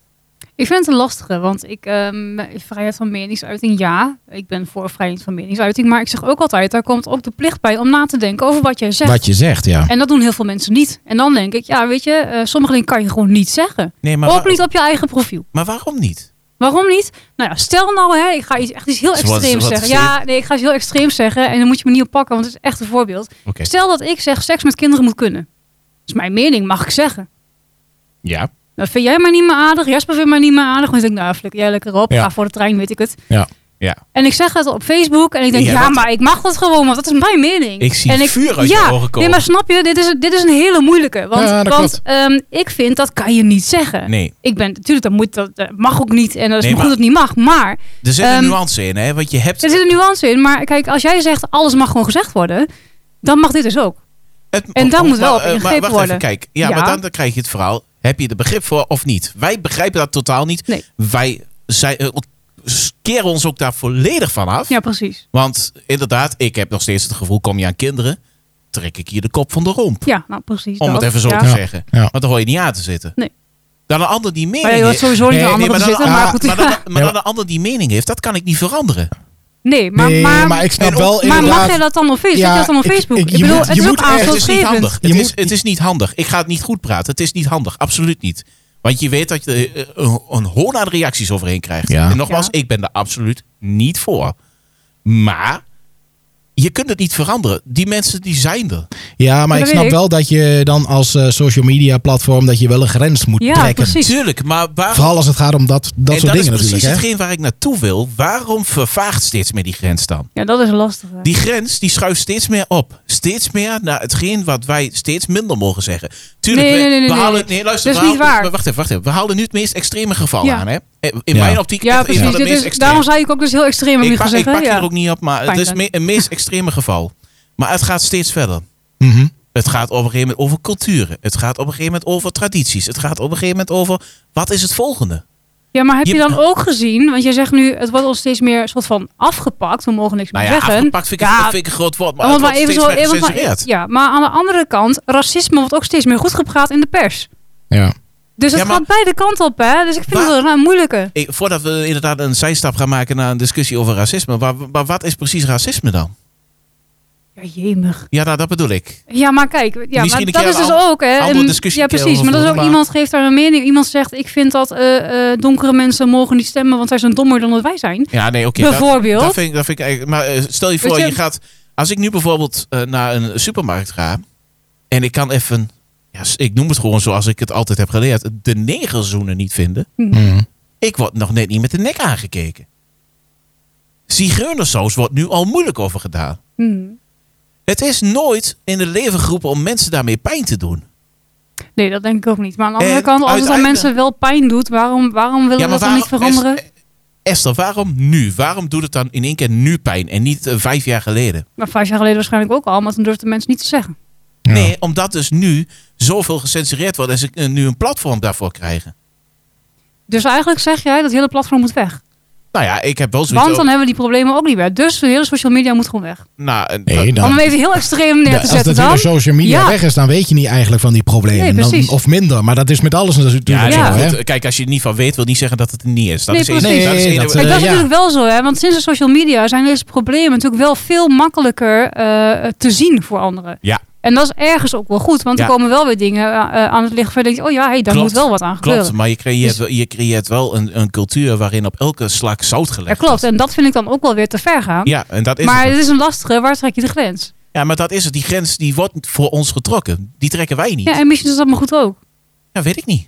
Speaker 1: Ik vind het een lastige, want ik, ehm, vrijheid van meningsuiting, ja, ik ben voor vrijheid van meningsuiting. Maar ik zeg ook altijd, daar komt ook de plicht bij om na te denken over wat jij zegt.
Speaker 2: Wat je zegt, ja.
Speaker 1: En dat doen heel veel mensen niet. En dan denk ik, ja, weet je, eh, sommige dingen kan je gewoon niet zeggen.
Speaker 3: Nee, maar,
Speaker 1: ook niet op je eigen profiel.
Speaker 3: maar waarom niet?
Speaker 1: Waarom niet? Nou ja, stel nou, hè, ik ga iets, echt iets heel
Speaker 3: Zo wat-
Speaker 1: extreems
Speaker 3: zo wat
Speaker 1: zeggen. Ja, nee, ik ga iets heel extreems zeggen en dan moet je me niet op pakken, want het is echt een voorbeeld.
Speaker 3: Oké.
Speaker 1: Stel dat ik zeg, seks met kinderen moet kunnen. Dat is mijn mening, mag ik zeggen.
Speaker 3: Ja.
Speaker 1: Nou, vind jij maar niet meer aardig, Jasper vindt mij niet meer aardig. Dan denk ik, nou, flikker jij lekker op,
Speaker 2: Ja.
Speaker 1: ga voor de trein, weet ik het.
Speaker 2: Ja.
Speaker 3: Ja.
Speaker 1: En ik zeg het op Facebook en ik denk,
Speaker 3: Ja,
Speaker 1: ja,
Speaker 3: dat-
Speaker 1: maar ik mag dat gewoon, want dat is mijn mening.
Speaker 3: Ik zie
Speaker 1: en
Speaker 3: vuur uit je
Speaker 1: ja,
Speaker 3: ogen komen.
Speaker 1: Nee, maar snap je, dit is, dit is een hele moeilijke. Want,
Speaker 2: Ja, dat
Speaker 1: want ehm, ik vind, dat kan je niet zeggen.
Speaker 3: Nee.
Speaker 1: Ik ben, natuurlijk, dat, moet, dat, dat mag ook niet en dat is
Speaker 3: Nee,
Speaker 1: maar goed
Speaker 3: maar-
Speaker 1: dat het niet mag. Maar
Speaker 3: Er zit een
Speaker 1: Ehm,
Speaker 3: nuance in, hè? Want je hebt.
Speaker 1: er zit een nuance in. Maar kijk, als jij zegt, alles mag gewoon gezegd worden, dan mag dit dus ook.
Speaker 3: het-
Speaker 1: en daar
Speaker 3: oh,
Speaker 1: moet wel
Speaker 3: maar,
Speaker 1: op
Speaker 3: eh, maar
Speaker 1: ingegrepen
Speaker 3: wacht
Speaker 1: worden.
Speaker 3: Even, kijk, ja,
Speaker 1: Ja.
Speaker 3: maar dan, dan krijg je het verhaal. Heb je er begrip voor of niet? Wij begrijpen dat totaal niet.
Speaker 1: Nee.
Speaker 3: Wij zijn, eh, s- keren ons ook daar volledig van af.
Speaker 1: Ja, precies.
Speaker 3: Want inderdaad, ik heb nog steeds het gevoel: kom je aan kinderen, trek ik je de kop van de romp.
Speaker 1: Ja, nou precies.
Speaker 3: om
Speaker 1: dat.
Speaker 3: het even zo
Speaker 1: Ja.
Speaker 3: te
Speaker 2: Ja.
Speaker 3: zeggen.
Speaker 2: Ja.
Speaker 3: Want dan hoor je niet aan te zitten.
Speaker 1: Nee.
Speaker 3: Dan een ander die mening
Speaker 1: Maar je hoort
Speaker 3: heeft.
Speaker 1: sowieso niet
Speaker 2: Nee,
Speaker 1: aan
Speaker 2: nee,
Speaker 1: anderen te
Speaker 3: dan,
Speaker 1: zitten, maar
Speaker 3: ah,
Speaker 1: goed.
Speaker 3: maar dan- maar
Speaker 2: Ja.
Speaker 3: dan een ander die mening heeft, dat kan ik niet veranderen.
Speaker 1: Nee, maar,
Speaker 2: Nee,
Speaker 1: maar,
Speaker 2: maar ik snap
Speaker 3: en
Speaker 2: wel
Speaker 1: maar mag
Speaker 2: inderdaad-
Speaker 1: jij dat dan op Facebook? Zet
Speaker 2: Ja,
Speaker 1: je dat dan op
Speaker 2: ik-
Speaker 1: Facebook?
Speaker 2: ik-
Speaker 1: Ik,
Speaker 2: je
Speaker 1: bedoel,
Speaker 2: moet-
Speaker 1: het
Speaker 2: je
Speaker 1: is
Speaker 2: moet
Speaker 1: ook
Speaker 2: ergens-
Speaker 3: Het is niet handig.
Speaker 1: aanstootgevend.
Speaker 3: Het,
Speaker 2: Je
Speaker 3: is,
Speaker 2: moet-
Speaker 3: het is niet handig. Ik ga het niet goed praten. Het is niet handig. Absoluut niet. Want je weet dat je eh, een, een hoon aan reacties overheen krijgt.
Speaker 2: Ja.
Speaker 3: En nogmaals,
Speaker 1: Ja.
Speaker 3: ik ben er absoluut niet voor. Maar je kunt het niet veranderen. Die mensen die zijn er.
Speaker 2: Ja, maar
Speaker 1: dat
Speaker 2: ik snap
Speaker 1: weet ik.
Speaker 2: wel dat je dan als eh, social media platform dat je wel een grens moet
Speaker 1: Ja,
Speaker 2: trekken.
Speaker 1: precies.
Speaker 3: Tuurlijk, maar waarom...
Speaker 2: Vooral als het gaat om dat, dat
Speaker 3: en
Speaker 2: soort
Speaker 3: dat is
Speaker 2: dingen
Speaker 3: precies
Speaker 2: natuurlijk. Hè?
Speaker 3: hetgeen waar ik naartoe wil. Waarom vervaagt steeds meer die grens dan?
Speaker 1: Ja, dat is lastig. hè.
Speaker 3: Die grens die schuift steeds meer op. Steeds meer naar hetgeen wat wij steeds minder mogen zeggen. Tuurlijk,
Speaker 1: Nee,
Speaker 3: we,
Speaker 1: nee, nee,
Speaker 3: we
Speaker 1: nee,
Speaker 3: halen...
Speaker 1: nee.
Speaker 3: Nee, luister.
Speaker 1: Dat is
Speaker 3: we
Speaker 1: niet
Speaker 3: halen-
Speaker 1: waar.
Speaker 3: Wacht even, wacht even. We halen nu het meest extreme geval
Speaker 1: Ja.
Speaker 3: aan. Hè? In
Speaker 2: Ja.
Speaker 3: mijn optiek
Speaker 1: ja,
Speaker 3: het een
Speaker 1: precies.
Speaker 3: van de
Speaker 1: Dit
Speaker 3: meest
Speaker 1: is,
Speaker 3: extreme.
Speaker 1: daarom zei ik ook dus heel extreem heb
Speaker 3: Ik,
Speaker 1: ik
Speaker 3: pak- ik
Speaker 1: gezegd. hè?
Speaker 3: pak je
Speaker 1: Ja.
Speaker 3: er ook niet op, maar het
Speaker 1: Fijn
Speaker 3: is
Speaker 1: dan.
Speaker 3: me- een meest extreme geval. Maar het gaat steeds verder.
Speaker 2: Mhm.
Speaker 3: Het gaat op een gegeven moment over culturen. Het gaat op een gegeven moment over tradities. Het gaat op een gegeven moment over wat is het volgende.
Speaker 1: Ja, maar heb
Speaker 3: Je-
Speaker 1: je dan ook gezien, want jij zegt nu, het wordt ons steeds meer soort van afgepakt, we mogen niks
Speaker 3: Nou
Speaker 1: meer
Speaker 3: ja,
Speaker 1: zeggen.
Speaker 3: afgepakt vind ik,
Speaker 1: Ja,
Speaker 3: vind ik een groot woord, maar
Speaker 1: om
Speaker 3: het
Speaker 1: het
Speaker 3: wordt steeds meer
Speaker 1: even maar-
Speaker 3: gecensureerd.
Speaker 1: ja, maar aan de andere kant, racisme wordt ook steeds meer goed gepraat in de pers.
Speaker 2: Ja.
Speaker 1: Dus het
Speaker 3: Ja, maar-
Speaker 1: gaat beide kanten op, hè? Dus ik vind
Speaker 3: Maar-
Speaker 1: het wel een moeilijke.
Speaker 3: Ik- Eh, voordat we inderdaad een zijstap gaan maken naar een discussie over racisme. Maar, maar wat is precies racisme dan?
Speaker 1: Ja, jemig.
Speaker 3: Ja, nou, dat bedoel ik.
Speaker 1: Ja, maar kijk, ja,
Speaker 3: Misschien
Speaker 1: maar
Speaker 3: een
Speaker 1: dat
Speaker 3: keer
Speaker 1: is dus
Speaker 3: een
Speaker 1: ook, hè?
Speaker 3: andere
Speaker 1: een-
Speaker 3: discussie
Speaker 1: ja,
Speaker 3: een keer
Speaker 1: precies. Maar dat is
Speaker 3: over,
Speaker 1: ook
Speaker 3: maar-
Speaker 1: iemand geeft daar een mening. Iemand zegt, ik vind dat eh, eh, donkere mensen mogen niet stemmen, want zij zijn dommer dan dat wij zijn.
Speaker 3: Ja, nee, oké. dat-
Speaker 1: Bijvoorbeeld.
Speaker 3: Dat vind ik, dat vind ik eigenlijk. Maar eh, stel je voor,
Speaker 1: Weet
Speaker 3: je,
Speaker 1: je-
Speaker 3: gaat. Als ik nu bijvoorbeeld eh, naar een supermarkt ga. en ik kan even. Ja, s- ik noem het gewoon zoals ik het altijd heb geleerd. de negerzoenen niet vinden.
Speaker 2: Mhm.
Speaker 3: Ik word nog net niet met de nek aangekeken. Zigeunersaus wordt nu al moeilijk over gedaan.
Speaker 1: Hmm.
Speaker 3: Het is nooit in het leven geroepen om mensen daarmee pijn te doen.
Speaker 1: Nee, dat denk ik ook niet. Maar aan de andere
Speaker 3: En
Speaker 1: kant, als het aan
Speaker 3: Eh, uiteindelijk-
Speaker 1: mensen wel pijn doet, waarom, waarom willen we dat dan niet veranderen?
Speaker 3: Es- Eh, Esther, waarom nu? Waarom doet het dan in één keer nu pijn en niet eh, vijf jaar geleden?
Speaker 1: Maar vijf jaar geleden waarschijnlijk ook al, maar dan durfden mensen niet te zeggen.
Speaker 2: Ja.
Speaker 3: Nee, omdat dus nu zoveel gecensureerd wordt en ze eh, nu een platform daarvoor krijgen.
Speaker 1: Dus eigenlijk zeg jij dat het hele platform moet weg.
Speaker 3: Nou ja, ik heb wel zoiets.
Speaker 1: Want dan hebben we die problemen ook niet meer. Dus de hele social media moet gewoon weg.
Speaker 3: over- nou, eh,
Speaker 2: Nee,
Speaker 3: dat-
Speaker 2: dan-
Speaker 1: Oh, Om hem even heel extreem neer
Speaker 2: Ja,
Speaker 1: te
Speaker 2: als
Speaker 1: zetten
Speaker 2: dat
Speaker 1: dan.
Speaker 2: hele social media
Speaker 1: Ja.
Speaker 2: weg is, dan weet je niet eigenlijk van die problemen.
Speaker 1: Nee,
Speaker 2: dan,
Speaker 1: precies.
Speaker 2: of minder. Maar dat is met alles natuurlijk
Speaker 3: ja,
Speaker 1: Ja.
Speaker 2: zo.
Speaker 3: nee,
Speaker 2: Hè?
Speaker 3: goed, eh, kijk, als je er niet van weet, wil niet zeggen dat het er niet is. Dat
Speaker 1: Nee,
Speaker 3: is één-
Speaker 1: precies.
Speaker 3: dat is
Speaker 2: Nee,
Speaker 3: één-
Speaker 2: dat,
Speaker 1: Kijk, dat
Speaker 2: eh,
Speaker 1: is
Speaker 2: ja.
Speaker 1: natuurlijk wel zo, hè? want sinds de social media zijn deze problemen natuurlijk wel veel makkelijker eh, te zien voor anderen.
Speaker 3: Ja.
Speaker 1: En dat is ergens ook wel goed, want
Speaker 3: Ja.
Speaker 1: er komen wel weer dingen eh, eh, aan het licht waarvan je denkt, oh ja, hey, daar
Speaker 3: Klopt.
Speaker 1: moet wel wat aan gebeuren.
Speaker 3: Klopt, maar je
Speaker 1: Dus
Speaker 3: creëert, wel- je creëert wel een, een cultuur waarin op elke slak zout
Speaker 1: Ja,
Speaker 3: gelegd
Speaker 1: klopt,
Speaker 3: wordt.
Speaker 1: en dat vind ik dan ook wel weer te ver gaan.
Speaker 3: Ja, en dat is
Speaker 1: maar
Speaker 3: het.
Speaker 1: het is een lastige, waar trek je de grens?
Speaker 3: Ja, maar dat is het. Die grens die wordt voor ons getrokken. Die trekken wij niet.
Speaker 1: Ja, en misschien is dat maar goed ook.
Speaker 3: Ja, weet ik niet.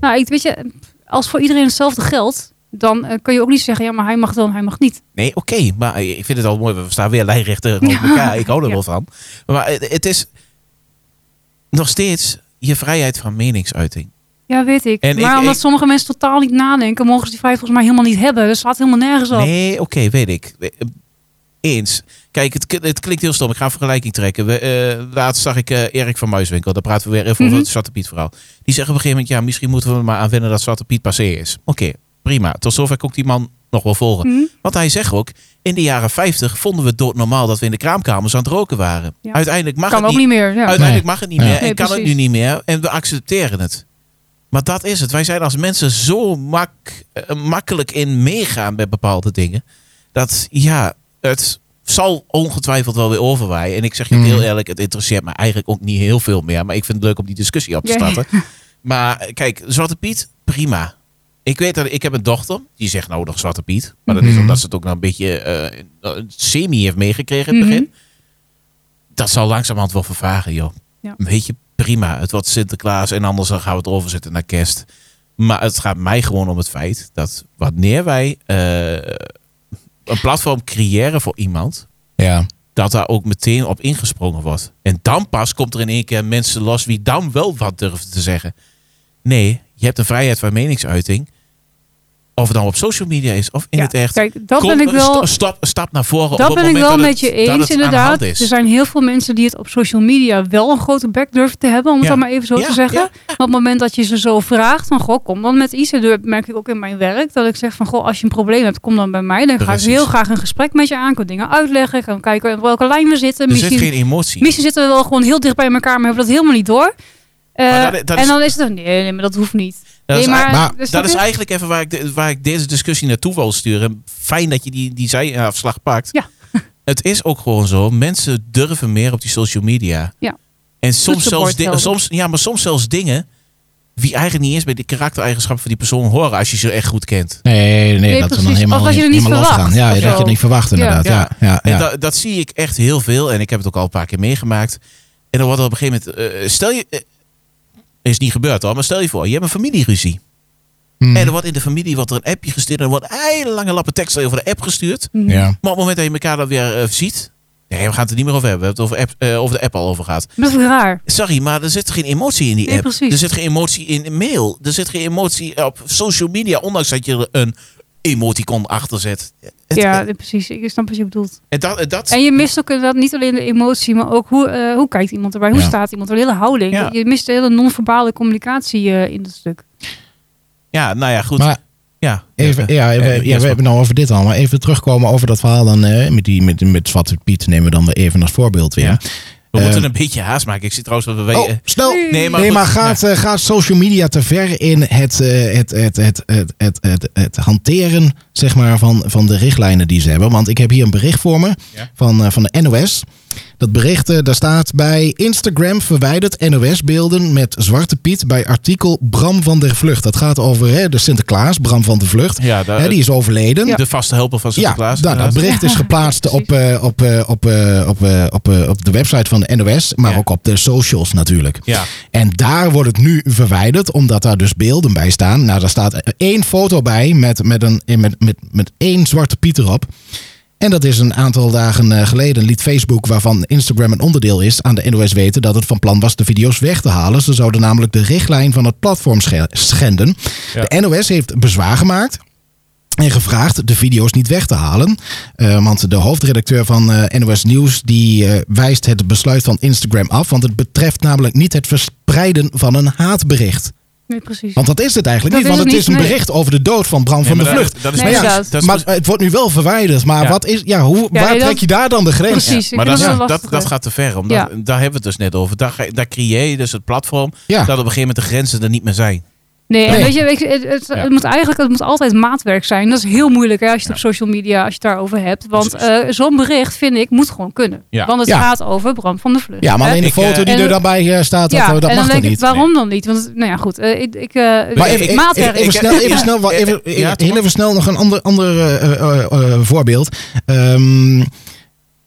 Speaker 1: Nou, ik weet je, als voor iedereen hetzelfde geldt, dan eh, kun je ook niet zeggen, ja, maar hij mag dan, hij mag niet.
Speaker 3: Nee, oké, maar eh, ik vind het al mooi. We staan weer lijnrechter op
Speaker 1: Ja.
Speaker 3: elkaar. Ik hou er
Speaker 1: *laughs* Ja.
Speaker 3: wel van. Maar eh, het is nog steeds je vrijheid van meningsuiting.
Speaker 1: Ja, weet ik.
Speaker 3: En
Speaker 1: maar
Speaker 3: ik-
Speaker 1: omdat
Speaker 3: ik-
Speaker 1: sommige mensen totaal niet nadenken, mogen ze die vrijheid volgens mij helemaal niet hebben. Dat slaat helemaal nergens op.
Speaker 3: Nee, oké, weet ik. Eh, Eens. Kijk, het, k- het klinkt heel stom. Ik ga een vergelijking trekken. We, eh, laatst zag ik eh, Erik van Muiswinkel. Daar praten we weer even over
Speaker 1: Mhm.
Speaker 3: het Zwarte Piet verhaal. Die zegt op een gegeven moment... ja, misschien moeten we er maar aan wennen dat Zwarte Piet passé is. Oké, prima. Tot zover kon ik die man nog wel volgen.
Speaker 1: Hm?
Speaker 3: Want hij zegt ook, in de jaren 50 vonden we het doodnormaal dat we in de kraamkamers aan het roken waren.
Speaker 1: Ja.
Speaker 3: Uiteindelijk mag
Speaker 1: Kan
Speaker 3: het
Speaker 1: ook niet meer. Ja.
Speaker 3: Uiteindelijk mag het niet
Speaker 2: Ja.
Speaker 3: meer en
Speaker 1: Nee,
Speaker 3: kan het
Speaker 1: precies.
Speaker 3: nu niet meer en we accepteren het. Maar dat is het. Wij zijn als mensen zo mak, eh, makkelijk in meegaan met bepaalde dingen. Dat ja, het zal ongetwijfeld wel weer overwaaien. En ik zeg je ook
Speaker 2: Mm.
Speaker 3: heel eerlijk, het interesseert me eigenlijk ook niet heel veel meer. Maar ik vind het leuk om die discussie op te
Speaker 1: Ja. *laughs*
Speaker 3: starten. Maar eh, kijk, Zwarte Piet, prima. Ik weet dat ik heb een dochter, die zegt nou nog Zwarte Piet. Maar dat is
Speaker 2: Mhm.
Speaker 3: omdat ze het ook nog een beetje eh, eh, semi heeft meegekregen in het
Speaker 1: Mhm.
Speaker 3: begin dat zal langzamerhand wel vervagen, joh.
Speaker 1: Ja.
Speaker 3: Weet je, prima. Het wordt Sinterklaas en anders dan gaan we het overzetten naar kerst. Maar het gaat mij gewoon om het feit dat wanneer wij eh, een platform creëren voor iemand,
Speaker 2: Ja.
Speaker 3: dat daar ook meteen op ingesprongen wordt. En dan pas komt er in één keer mensen los wie dan wel wat durven te zeggen. Nee, je hebt een vrijheid van meningsuiting. Of het nou op social media is of in
Speaker 1: Ja,
Speaker 3: het echt.
Speaker 1: Kijk, dat
Speaker 3: Kom
Speaker 1: ben ik
Speaker 3: een
Speaker 1: wel
Speaker 3: sta- stap, een stap naar voren. op
Speaker 1: Dat
Speaker 3: het
Speaker 1: ben ik
Speaker 3: moment
Speaker 1: wel
Speaker 3: dat
Speaker 1: met je
Speaker 3: het- dat
Speaker 1: eens,
Speaker 3: het aan de hand
Speaker 1: inderdaad. Er
Speaker 3: is.
Speaker 1: zijn heel veel mensen die het op social media wel een grote bek durven te hebben, om het
Speaker 3: Ja.
Speaker 1: dan maar even zo
Speaker 3: Ja,
Speaker 1: te zeggen.
Speaker 3: ja.
Speaker 1: Maar op het moment dat je ze zo vraagt, van goh, kom dan met iets. En Dat merk ik ook in mijn werk, dat ik zeg van goh, als je een probleem hebt, kom dan bij mij. Dan ga
Speaker 3: Precies.
Speaker 1: ik heel graag een gesprek met je aan, ik kan dingen uitleggen, ik kan kijken op welke lijn we zitten.
Speaker 3: Er zit
Speaker 1: Misschien,
Speaker 3: geen emotie.
Speaker 1: misschien zitten we wel gewoon heel dicht bij elkaar, maar hebben dat helemaal niet door. Eh,
Speaker 3: Maar dat- dat
Speaker 1: en
Speaker 3: is-
Speaker 1: dan is het dan, nee, nee, maar dat hoeft niet.
Speaker 3: Dat
Speaker 1: nee,
Speaker 3: is
Speaker 1: maar,
Speaker 2: maar
Speaker 1: dus
Speaker 3: Dat
Speaker 1: dat
Speaker 3: is
Speaker 1: is-
Speaker 3: eigenlijk even waar ik, de- waar ik deze discussie naartoe wil sturen. Fijn dat je die, die zijafslag pakt.
Speaker 1: Ja. *laughs*
Speaker 3: Het is ook gewoon zo. Mensen durven meer op die social media.
Speaker 1: Ja.
Speaker 3: En soms
Speaker 1: Toetsenbord
Speaker 3: zelfs, di-
Speaker 1: helder.
Speaker 3: soms, ja, maar soms zelfs dingen wie eigenlijk niet eens bij de karaktereigenschappen van die persoon horen als je ze echt goed kent.
Speaker 2: Nee, nee,
Speaker 1: Nee,
Speaker 2: dat we dan
Speaker 1: precies.
Speaker 2: helemaal,
Speaker 1: Of dat je er niet
Speaker 2: helemaal
Speaker 1: verwacht,
Speaker 2: losgaan. Ja,
Speaker 1: of
Speaker 2: dat je
Speaker 1: zo.
Speaker 2: het niet verwacht inderdaad. Ja, ja, ja,
Speaker 3: En da- dat zie ik echt heel veel. En ik heb het ook al een paar keer meegemaakt. En dan wordt er op een gegeven moment... eh, stel je... eh, is niet gebeurd hoor, maar stel je voor, je hebt een familieruzie.
Speaker 2: Hmm.
Speaker 3: En er wordt in de familie wordt er een appje gestuurd. En er wordt hele lange lappen tekst over de app gestuurd.
Speaker 1: Mhm.
Speaker 2: ja.
Speaker 3: Maar op het moment dat je elkaar dan weer eh, ziet... Nee, we gaan het er niet meer over hebben. We hebben het over, app, eh, over de app al over gehad.
Speaker 1: Dat is raar.
Speaker 3: Sorry, maar er zit geen emotie in die
Speaker 1: Nee,
Speaker 3: app.
Speaker 1: precies.
Speaker 3: Er zit geen emotie in een mail. Er zit geen emotie op social media. Ondanks dat je er een emoticon achter zet. Het-
Speaker 1: ja, precies. Ik snap wat je bedoelt.
Speaker 3: En dat, en dat,
Speaker 1: En je mist ook inderdaad niet alleen de emotie, maar ook hoe, eh, hoe kijkt iemand erbij? Hoe
Speaker 2: Ja.
Speaker 1: staat iemand? De hele houding.
Speaker 3: Ja.
Speaker 1: Je mist de hele non-verbale communicatie eh, in dat stuk.
Speaker 3: ja, nou ja, goed.
Speaker 2: Maar
Speaker 3: ja,
Speaker 2: even,
Speaker 3: ja,
Speaker 2: ja, we,
Speaker 3: eh,
Speaker 2: ja, we
Speaker 3: Jasper.
Speaker 2: hebben het nou over dit al. Maar even terugkomen over dat verhaal dan eh, met, die, met, met Zwarte Piet nemen we dan weer even als voorbeeld weer.
Speaker 3: Ja. We
Speaker 2: eh,
Speaker 3: moeten een beetje haast maken. Ik zie trouwens dat we...
Speaker 2: Oh,
Speaker 3: eh,
Speaker 2: snel!
Speaker 1: Nee,
Speaker 3: nee, maar,
Speaker 2: nee,
Speaker 3: goed.
Speaker 2: maar gaat, eh, gaat social media te ver in het, eh, het, het, het, het, het, het, het hanteren zeg maar, van, van de richtlijnen die ze hebben? Want ik heb hier een bericht voor me
Speaker 3: Ja.
Speaker 2: van, eh, van de NOS. Dat bericht, eh, daar staat bij Instagram verwijdert NOS beelden met Zwarte Piet bij artikel Bram van der Vlucht. Dat gaat over hè, de Sinterklaas, Bram van der Vlucht.
Speaker 3: Ja, daar-
Speaker 2: Hè, die is overleden.
Speaker 3: De vaste helper van Sinterklaas. eh,
Speaker 2: Ja, nou, dat
Speaker 3: inderdaad.
Speaker 2: bericht is
Speaker 3: *laughs*
Speaker 2: geplaatst op, eh, op, eh, op, eh, op, eh, op, eh, op de website van de NOS, maar
Speaker 3: Ja.
Speaker 2: ook op de socials natuurlijk.
Speaker 3: Ja.
Speaker 2: En daar wordt het nu verwijderd, omdat daar dus beelden bij staan. Nou, daar staat één foto bij met, met, een, eh, met, met, met één zwarte Piet erop. En dat is een aantal dagen eh, geleden liet Facebook, waarvan Instagram een onderdeel is, aan de NOS weten dat het van plan was de video's weg te halen. Ze zouden namelijk de richtlijn van het platform sche- schenden.
Speaker 3: Ja.
Speaker 2: De NOS heeft bezwaar gemaakt. En gevraagd de video's niet weg te halen. Eh, want de hoofdredacteur van eh, NOS Nieuws die, eh, wijst het besluit van Instagram af. Want het betreft namelijk niet het verspreiden van een haatbericht.
Speaker 1: Nee, precies.
Speaker 2: Want dat is het eigenlijk
Speaker 1: Dat
Speaker 2: niet.
Speaker 1: is
Speaker 2: Want
Speaker 1: het
Speaker 2: het is een
Speaker 1: niet, nee.
Speaker 2: bericht over de dood van Bram van
Speaker 3: Nee,
Speaker 2: de
Speaker 3: maar dat-
Speaker 2: Vlucht.
Speaker 3: Dat is
Speaker 1: Nee,
Speaker 3: precies-
Speaker 2: ja,
Speaker 3: dat is
Speaker 2: maar
Speaker 3: precies-
Speaker 2: het wordt nu wel verwijderd. Maar
Speaker 3: Ja.
Speaker 2: wat is, ja, hoe,
Speaker 1: Ja,
Speaker 2: waar
Speaker 1: nee, dat-
Speaker 2: trek je daar dan de grens?
Speaker 1: precies. Ik
Speaker 3: Maar dat,
Speaker 1: vind
Speaker 3: is-
Speaker 1: wel
Speaker 3: dat,
Speaker 1: lastig,
Speaker 3: dat
Speaker 1: hè.
Speaker 3: gaat te ver. Omdat,
Speaker 1: Ja.
Speaker 3: Daar hebben we het dus net over. Daar, ga- daar creëer je dus het platform.
Speaker 2: Ja.
Speaker 3: Dat op een gegeven moment de grenzen er niet meer zijn.
Speaker 1: Nee, en
Speaker 2: Nee.
Speaker 1: weet je, weet je, het, het,
Speaker 3: Ja.
Speaker 1: het moet eigenlijk het moet altijd maatwerk zijn. Dat is heel moeilijk hè, als je het op social media als je het daarover hebt. Want
Speaker 3: Precies.
Speaker 1: eh, zo'n bericht, vind ik, moet gewoon kunnen.
Speaker 3: Ja.
Speaker 1: Want het
Speaker 2: Ja.
Speaker 1: gaat over Bram van der Vlucht.
Speaker 2: Ja, maar
Speaker 1: hè?
Speaker 2: alleen de
Speaker 3: Ik,
Speaker 2: foto
Speaker 3: eh,
Speaker 2: die er
Speaker 1: en-
Speaker 2: dan bij eh, staat, dat,
Speaker 1: Ja, en
Speaker 2: dat mag
Speaker 1: dan
Speaker 2: toch
Speaker 1: denk ik,
Speaker 2: niet?
Speaker 1: waarom dan niet? Want, nou ja, goed. eh, ik, ik, eh,
Speaker 2: Maar even, even-
Speaker 1: maatwerk.
Speaker 2: even
Speaker 3: Ik-
Speaker 2: snel, even
Speaker 3: ja.
Speaker 2: snel, wa- even,
Speaker 3: Ja, ja,
Speaker 2: heel
Speaker 3: toch?
Speaker 2: even snel nog een ander, ander eh, eh, eh, eh, voorbeeld. Ehm,